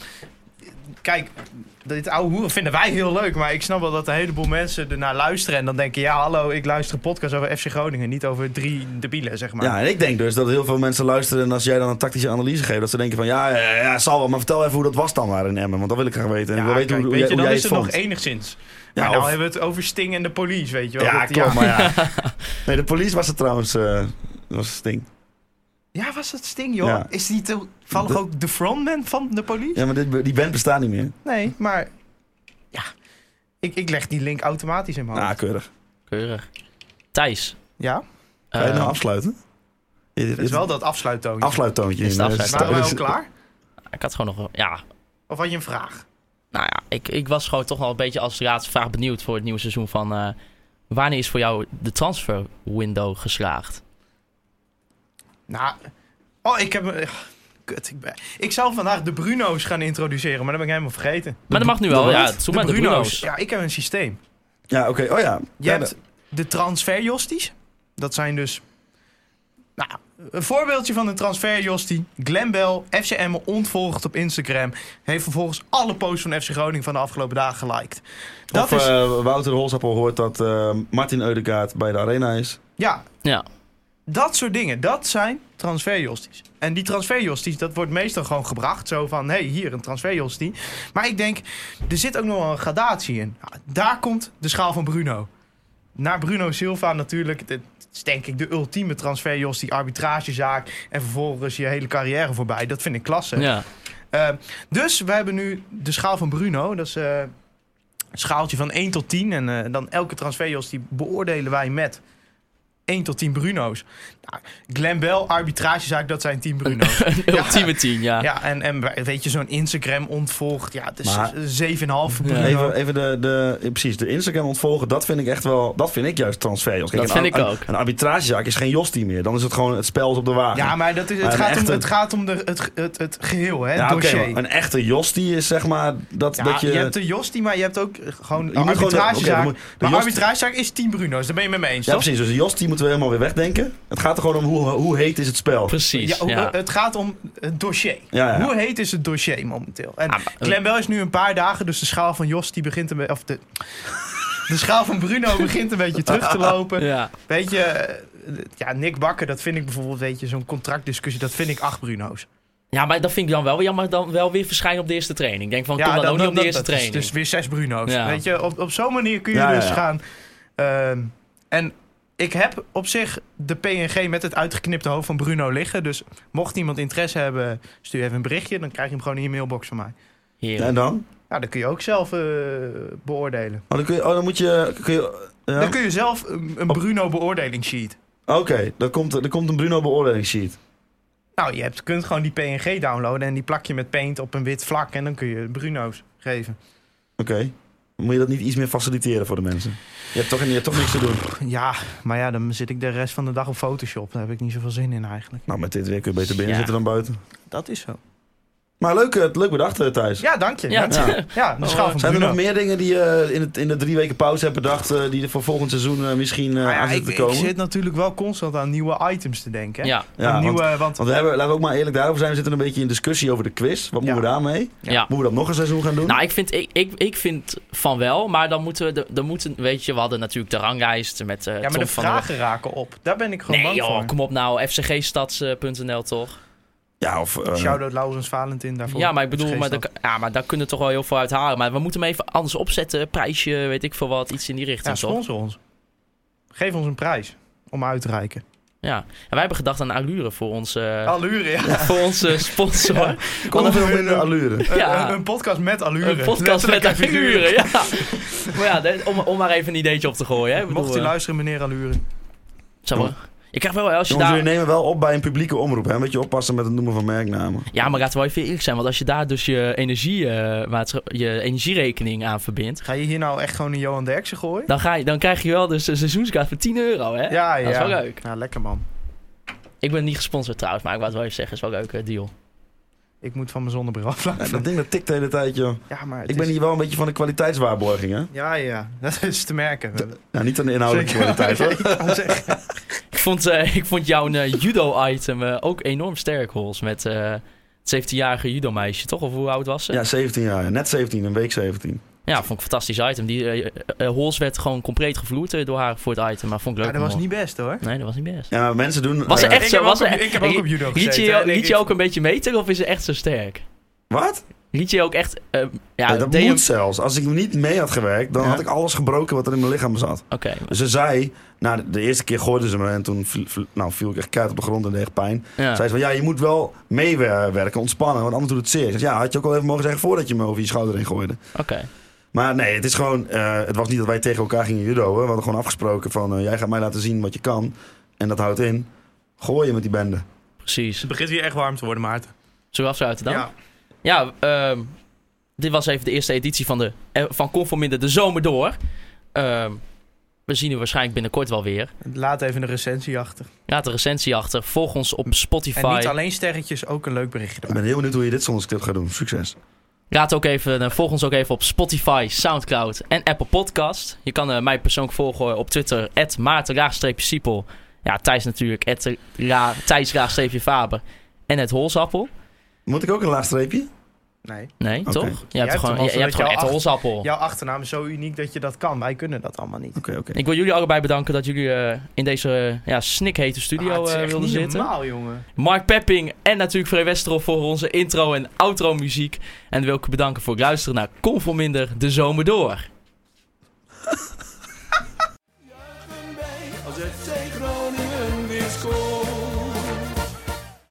[SPEAKER 5] kijk, dit oude hoeren vinden wij heel leuk. Maar ik snap wel dat een heleboel mensen ernaar luisteren. En dan denken, ja, hallo, ik luister een podcast over FC Groningen. Niet over drie debielen, zeg maar.
[SPEAKER 6] Ja, en ik denk dus dat heel veel mensen luisteren en als jij dan een tactische analyse geeft, dat ze denken van ja, ja, ja zal wel, maar vertel even hoe dat was dan daar in Emmen, want dat wil ik graag weten. En ik wil weten
[SPEAKER 5] kijk,
[SPEAKER 6] hoe, hoe,
[SPEAKER 5] weet
[SPEAKER 6] jij-
[SPEAKER 5] je,
[SPEAKER 6] hoe
[SPEAKER 5] dan
[SPEAKER 6] jij
[SPEAKER 5] is
[SPEAKER 6] het
[SPEAKER 5] het
[SPEAKER 6] vond.
[SPEAKER 5] nog enigszins.
[SPEAKER 6] Ja,
[SPEAKER 5] maar nou
[SPEAKER 6] of-
[SPEAKER 5] hebben we het over Sting en de police, weet je wel.
[SPEAKER 6] ja,
[SPEAKER 5] Dat-
[SPEAKER 6] klopt, maar ja. Nee, de police was het trouwens, eh was Sting.
[SPEAKER 5] Ja, was dat Sting, joh?
[SPEAKER 6] Ja.
[SPEAKER 5] Is die toevallig
[SPEAKER 6] De-
[SPEAKER 5] ook de frontman van de police?
[SPEAKER 6] Ja, maar dit, die band bestaat niet meer.
[SPEAKER 5] Nee, maar ja, ik, ik leg die link automatisch in mijn hoofd.
[SPEAKER 6] Ah, keurig.
[SPEAKER 4] Keurig. Thijs.
[SPEAKER 5] Ja,
[SPEAKER 6] Ga je het
[SPEAKER 4] eh,
[SPEAKER 6] nou afsluiten? Dit- dit-
[SPEAKER 5] Ehm, het is wel dat afsluittoontje.
[SPEAKER 6] afsluittoontje.
[SPEAKER 4] Is het
[SPEAKER 6] in, eh,
[SPEAKER 4] afsluit?
[SPEAKER 6] sta-
[SPEAKER 5] Waren wij al
[SPEAKER 6] dus-
[SPEAKER 5] klaar?
[SPEAKER 4] ik had gewoon nog... een- Ja,
[SPEAKER 5] Of had je een vraag?
[SPEAKER 4] nou ja, ik, ik was gewoon toch wel een beetje als laatste vraag benieuwd voor het nieuwe seizoen van... eh, wanneer is voor jou de transfer window geslaagd?
[SPEAKER 5] Nou, oh, ik heb... een- Kut, ik, ben, ik zou vandaag de Bruno's gaan introduceren, maar dat ben ik helemaal vergeten.
[SPEAKER 4] Maar dat mag nu wel. Ja, zoek maar de Bruno's.
[SPEAKER 5] Ja, ik heb een systeem.
[SPEAKER 6] Ja, oké. Oh ja.
[SPEAKER 5] Je
[SPEAKER 6] Ja,
[SPEAKER 5] hebt de transferjosties. Dat zijn dus... Nou, een voorbeeldje van een transferjostie. Glenn Bell, FCM ontvolgt op Instagram. Heeft vervolgens alle posts van FC Groningen van de afgelopen dagen geliked. Dat
[SPEAKER 6] of
[SPEAKER 5] is...
[SPEAKER 6] eh, Wouter Holsappel hoort dat eh, Martin Eudegaard bij de Arena is.
[SPEAKER 5] ja,
[SPEAKER 4] Ja.
[SPEAKER 5] Dat soort dingen, dat zijn transferjosties. En die transferjosties, dat wordt meestal gewoon gebracht. Zo van, hé, hey, hier een transferjostie. Maar ik denk, er zit ook nog wel een gradatie in. Ja, Daar komt de schaal van Bruno. Naar Bruno Silva natuurlijk. Dat is denk ik de ultieme transferjostie, arbitragezaak. En vervolgens je hele carrière voorbij. Dat vind ik klasse.
[SPEAKER 4] Ja.
[SPEAKER 5] Eh, dus we hebben nu de schaal van Bruno. Dat is eh, een schaaltje van 1 tot 10. En eh, dan elke transferjos die beoordelen wij met 1 tot 10 Bruno's. Nou, Glenn Bell, arbitragezaak, dat zijn 10
[SPEAKER 4] <laughs>
[SPEAKER 5] Bruno's.
[SPEAKER 4] Een ultieme team, ja.
[SPEAKER 5] ja, en, en weet je, zo'n Instagram ontvolgt. Ja, dus
[SPEAKER 6] Maar-
[SPEAKER 5] 7,5 Bruno.
[SPEAKER 6] Even, even de, de, eh, precies, de Instagram ontvolgen, dat vind ik echt wel, dat vind ik juist transfer. Kijk,
[SPEAKER 4] Dat
[SPEAKER 6] een
[SPEAKER 4] vind
[SPEAKER 6] ar-
[SPEAKER 4] ik
[SPEAKER 6] een-
[SPEAKER 4] ook.
[SPEAKER 6] Een arbitragezaak is geen Jostie meer. Dan is het gewoon het spel is op de wagen.
[SPEAKER 5] Ja, maar dat is,
[SPEAKER 6] Maar
[SPEAKER 5] het,
[SPEAKER 6] een
[SPEAKER 5] gaat om,
[SPEAKER 6] echte-
[SPEAKER 5] het gaat om de, het, het, het geheel, hè, het
[SPEAKER 6] Ja, oké,
[SPEAKER 5] dossier.
[SPEAKER 6] maar een echte Jostie is zeg maar dat,
[SPEAKER 5] Ja,
[SPEAKER 6] dat
[SPEAKER 5] je...
[SPEAKER 6] je...
[SPEAKER 5] hebt de Jostie, maar je hebt ook eh, gewoon
[SPEAKER 6] moet
[SPEAKER 5] de
[SPEAKER 6] gewoon de- oké, dan
[SPEAKER 5] arbitragezaak.
[SPEAKER 6] moet- de
[SPEAKER 5] maar
[SPEAKER 6] Jostie-
[SPEAKER 5] arbitragezaak is 10 Bruno's, daar ben je mee me eens,
[SPEAKER 6] ja,
[SPEAKER 5] toch?
[SPEAKER 6] precies. Dus de Jostie moeten we helemaal weer wegdenken. Het gaat er gewoon om hoe, hoe heet is het spel.
[SPEAKER 4] Precies.
[SPEAKER 5] Ja, oh, eh,
[SPEAKER 4] Ja,
[SPEAKER 5] hoe- Het gaat om het dossier.
[SPEAKER 6] Ja, ja.
[SPEAKER 5] Hoe heet is het dossier momenteel? En
[SPEAKER 4] Ah, maar-
[SPEAKER 5] Glenn Bell is nu een paar dagen, dus de schaal van Jos die begint een beetje. Of de, <laughs> de schaal van Bruno begint een beetje terug te
[SPEAKER 4] <laughs>
[SPEAKER 5] lopen.
[SPEAKER 4] Ja.
[SPEAKER 5] Weet je, eh, ja, Nick Bakker, dat vind ik bijvoorbeeld, weet je, zo'n contractdiscussie, dat vind ik acht Bruno's.
[SPEAKER 4] Ja, maar dat vind ik dan wel jammer dan wel weer verschijnen op de eerste training. Ik denk van, kom dan, Oh, ook niet op de eerste
[SPEAKER 5] dat is
[SPEAKER 4] training.
[SPEAKER 5] dus weer zes Bruno's.
[SPEAKER 4] Ja.
[SPEAKER 5] Weet je, op, op zo'n manier kun je
[SPEAKER 6] Ja, ja,
[SPEAKER 5] dus
[SPEAKER 6] ja.
[SPEAKER 5] gaan. ehm, en ik heb op zich de PNG met het uitgeknipte hoofd van Bruno liggen. Dus mocht iemand interesse hebben, stuur even een berichtje. Dan krijg je hem gewoon in je mailbox van mij.
[SPEAKER 4] Heerlijk.
[SPEAKER 6] En dan?
[SPEAKER 5] Ja, dat kun je ook zelf eh, beoordelen.
[SPEAKER 6] Oh, dan, kun je, oh, dan moet je... Kun je ja?
[SPEAKER 5] Dan kun je zelf een, een Bruno beoordelingssheet.
[SPEAKER 6] Oké, dan, komt, dan komt een Bruno beoordelingssheet.
[SPEAKER 5] Nou, je hebt, kunt gewoon die PNG downloaden en die plak je met paint op een wit vlak. En dan kun je Bruno's geven.
[SPEAKER 6] Oké. Moet je dat niet iets meer faciliteren voor de mensen? Je hebt toch, je hebt toch niks te doen.
[SPEAKER 5] Ja, maar ja, dan zit ik de rest van de dag op Photoshop. Daar heb ik niet zoveel zin in eigenlijk.
[SPEAKER 6] Nou, met dit weer kun je beter binnen
[SPEAKER 4] Ja.
[SPEAKER 6] zitten dan buiten.
[SPEAKER 5] Dat is zo.
[SPEAKER 6] Maar leuk, eh, leuk bedacht, eh, Thijs.
[SPEAKER 5] Ja, dank je.
[SPEAKER 4] Ja,
[SPEAKER 5] Ja,
[SPEAKER 4] ja.
[SPEAKER 5] ja de schaal van
[SPEAKER 6] Oh, Zijn er
[SPEAKER 5] Bruno.
[SPEAKER 6] nog meer dingen die je in, het, in de drie weken pauze hebt bedacht... eh, die er voor volgend seizoen eh, misschien eh,
[SPEAKER 5] Nou ja,
[SPEAKER 6] aan
[SPEAKER 5] ik,
[SPEAKER 6] zitten te
[SPEAKER 5] ik
[SPEAKER 6] komen?
[SPEAKER 5] zit natuurlijk wel constant aan nieuwe items te denken. hè.
[SPEAKER 4] Ja,
[SPEAKER 5] Aan
[SPEAKER 6] Ja, want,
[SPEAKER 5] nieuwe, eh, want,
[SPEAKER 6] want we hebben, laten we ook maar eerlijk daarover zijn. We zitten een beetje in discussie over de quiz. Wat moeten we
[SPEAKER 5] Ja.
[SPEAKER 4] <laughs>
[SPEAKER 6] daarmee?
[SPEAKER 4] ja.
[SPEAKER 6] Moeten we dat nog een seizoen gaan doen?
[SPEAKER 4] Nou, ik vind, ik, ik, ik vind van wel, maar dan moeten we, de- dan moeten, weet je, we hadden natuurlijk de ranglijst met eh
[SPEAKER 5] ja, maar
[SPEAKER 4] Tom
[SPEAKER 5] de
[SPEAKER 4] van der
[SPEAKER 5] vragen raken op. Daar ben ik gewoon
[SPEAKER 4] Nee
[SPEAKER 5] bang
[SPEAKER 4] joh,
[SPEAKER 5] voor.
[SPEAKER 4] kom op nou, fcgstads.nl toch?
[SPEAKER 6] ja, of... eh,
[SPEAKER 5] Shout-out Laurens Valentin daarvoor.
[SPEAKER 4] ja, maar ik bedoel,
[SPEAKER 5] Geen
[SPEAKER 4] maar,
[SPEAKER 5] stap.
[SPEAKER 4] daar- ja, maar daar kunnen we toch wel heel veel uit halen. Maar we moeten hem even anders opzetten, prijsje, weet ik veel wat, iets in die
[SPEAKER 5] Ja,
[SPEAKER 4] richting toch?
[SPEAKER 5] sponsor ons. Geef ons een prijs om uit te reiken.
[SPEAKER 4] Ja, en wij hebben gedacht aan Allure voor onze,
[SPEAKER 5] Allure, ja.
[SPEAKER 4] <laughs> voor onze sponsor.
[SPEAKER 6] Kom op
[SPEAKER 5] Of
[SPEAKER 6] veel
[SPEAKER 5] een-
[SPEAKER 6] minder allure.
[SPEAKER 4] Ja.
[SPEAKER 5] Een, een- een podcast met allure.
[SPEAKER 4] Een podcast met
[SPEAKER 5] Letterlijk
[SPEAKER 4] haar
[SPEAKER 5] en figuurlijk.
[SPEAKER 4] figuren, ja. maar ja, de- om, om maar even een ideetje op te gooien. Hè. Ik bedoel,
[SPEAKER 5] Mocht u
[SPEAKER 4] eh,
[SPEAKER 5] luisteren, meneer Allure.
[SPEAKER 4] Zeg maar. Je krijgt wel, als je
[SPEAKER 6] Jongens, jullie
[SPEAKER 4] daar...
[SPEAKER 6] nemen wel op bij een publieke omroep, hè? Een beetje oppassen met het noemen van merknamen.
[SPEAKER 4] Ja, maar laten we wel even eerlijk zijn. Want als je daar dus je, energie, eh, maatsch- je energierekening aan verbindt...
[SPEAKER 5] Ga je hier nou echt gewoon een Johan Derksen gooien?
[SPEAKER 4] Dan, ga je, dan krijg je wel dus een seizoenskaart voor 10 euro, hè?
[SPEAKER 5] Ja, ja.
[SPEAKER 4] Dat is wel leuk.
[SPEAKER 5] Ja, lekker man.
[SPEAKER 4] Ik ben niet gesponsord trouwens, maar ik wou het wel even zeggen. is wel een leuke deal.
[SPEAKER 5] Ik moet van mijn zonnebril af.
[SPEAKER 6] Ja, dat ding dat tikt de hele tijd, joh.
[SPEAKER 5] Ja, maar het
[SPEAKER 6] Ik ben
[SPEAKER 5] is-
[SPEAKER 6] hier wel een beetje van de kwaliteitswaarborging, hè?
[SPEAKER 5] Ja, ja, <laughs> dat is te merken.
[SPEAKER 6] Nou, niet aan de inhoudelijke
[SPEAKER 5] Zeker.
[SPEAKER 6] kwaliteit,
[SPEAKER 4] <laughs>
[SPEAKER 6] hoor.
[SPEAKER 4] Ik vond, eh, ik vond jouw eh, judo-item eh, ook enorm sterk, Hols. Met eh, het 17-jarige judo-meisje, toch? Of hoe oud was ze?
[SPEAKER 6] Ja, 17 jaar. Net 17, een week 17.
[SPEAKER 4] Ja, vond ik een fantastisch item. Die, eh, eh, Hols werd gewoon compleet gevloerd eh, door haar voor het item. Maar vond ik
[SPEAKER 5] Ja,
[SPEAKER 4] leuk.
[SPEAKER 5] dat was
[SPEAKER 4] man.
[SPEAKER 5] niet best hoor.
[SPEAKER 4] Nee, dat was niet best.
[SPEAKER 6] Ja, maar mensen doen...
[SPEAKER 4] Was ze
[SPEAKER 6] eh,
[SPEAKER 4] echt
[SPEAKER 5] ik
[SPEAKER 4] zo?
[SPEAKER 5] heb
[SPEAKER 4] Was
[SPEAKER 5] ook
[SPEAKER 4] ze
[SPEAKER 5] op- ik heb ook op judo
[SPEAKER 4] Liet je,
[SPEAKER 5] gezeten, hè,
[SPEAKER 4] liet
[SPEAKER 5] denk
[SPEAKER 4] je
[SPEAKER 5] ik.
[SPEAKER 4] ook een beetje meter of is ze echt zo sterk?
[SPEAKER 6] Wat?
[SPEAKER 4] Liet je ook echt... eh, ja,
[SPEAKER 6] Ja, dat
[SPEAKER 4] deed je-
[SPEAKER 6] moet zelfs. Als ik niet mee had gewerkt, dan had ik alles gebroken wat er in mijn lichaam zat.
[SPEAKER 4] Oké.
[SPEAKER 6] Ze zei, nou, de eerste keer gooide ze me en toen viel, viel- nou, viel ik echt keihard op de grond en deed echt pijn.
[SPEAKER 4] Ja.
[SPEAKER 6] Zei ze van, ja, je moet wel meewerken, ontspannen, want anders doet het zeer. Ik zeg, ja, had je ook al even mogen zeggen voordat je me over je schouder heen gooide.
[SPEAKER 4] Oké.
[SPEAKER 6] Maar nee, het is gewoon, eh, het was niet dat wij tegen elkaar gingen judoën. We hadden gewoon afgesproken van, eh, jij gaat mij laten zien wat je kan. En dat houdt in, gooien met die bende.
[SPEAKER 4] Precies.
[SPEAKER 5] Het begint weer echt warm te worden, Maarten.
[SPEAKER 4] Zullen we afsluiten dan?
[SPEAKER 5] Ja.
[SPEAKER 4] Ja, ehm, dit was even de eerste editie van, de, eh, van Conforminder de zomer door. Ehm, we zien u waarschijnlijk binnenkort wel weer.
[SPEAKER 5] Laat even een recensie achter.
[SPEAKER 4] Laat een recensie achter. Volg ons op Spotify.
[SPEAKER 5] En niet alleen sterretjes, ook een leuk berichtje.
[SPEAKER 6] Ik ben heel benieuwd hoe je dit zonder script gaat doen. Succes.
[SPEAKER 4] Raad ook even, eh, volg ons ook even op Spotify, Soundcloud en Apple Podcast. Je kan eh, mij persoonlijk volgen op Twitter, maarten-siepel. Ja, Thijs natuurlijk, ra- thijs-faber. En het holsappel.
[SPEAKER 6] Moet ik ook een laag streepje?
[SPEAKER 5] Nee.
[SPEAKER 4] Nee,
[SPEAKER 6] Oké.
[SPEAKER 4] toch? Je hebt,
[SPEAKER 5] hebt
[SPEAKER 4] gewoon,
[SPEAKER 5] hem al,
[SPEAKER 4] je, je
[SPEAKER 5] zodat
[SPEAKER 4] hebt gewoon
[SPEAKER 5] je al
[SPEAKER 4] het
[SPEAKER 5] acht-
[SPEAKER 4] holsappel.
[SPEAKER 5] Jouw achternaam is zo uniek dat je dat kan. Wij kunnen dat allemaal niet.
[SPEAKER 6] Oké, oké.
[SPEAKER 4] Ik wil jullie allebei bedanken dat jullie eh, in deze eh, ja, snikhete studio
[SPEAKER 5] Ah, het is
[SPEAKER 4] eh,
[SPEAKER 5] echt
[SPEAKER 4] wilden
[SPEAKER 5] niet
[SPEAKER 4] zitten.
[SPEAKER 5] normaal, jongen.
[SPEAKER 4] Mark Pepping en natuurlijk Free Westerhof voor onze intro en outro muziek. En wil ik u bedanken voor het luisteren naar Conforminder de Zomer Door.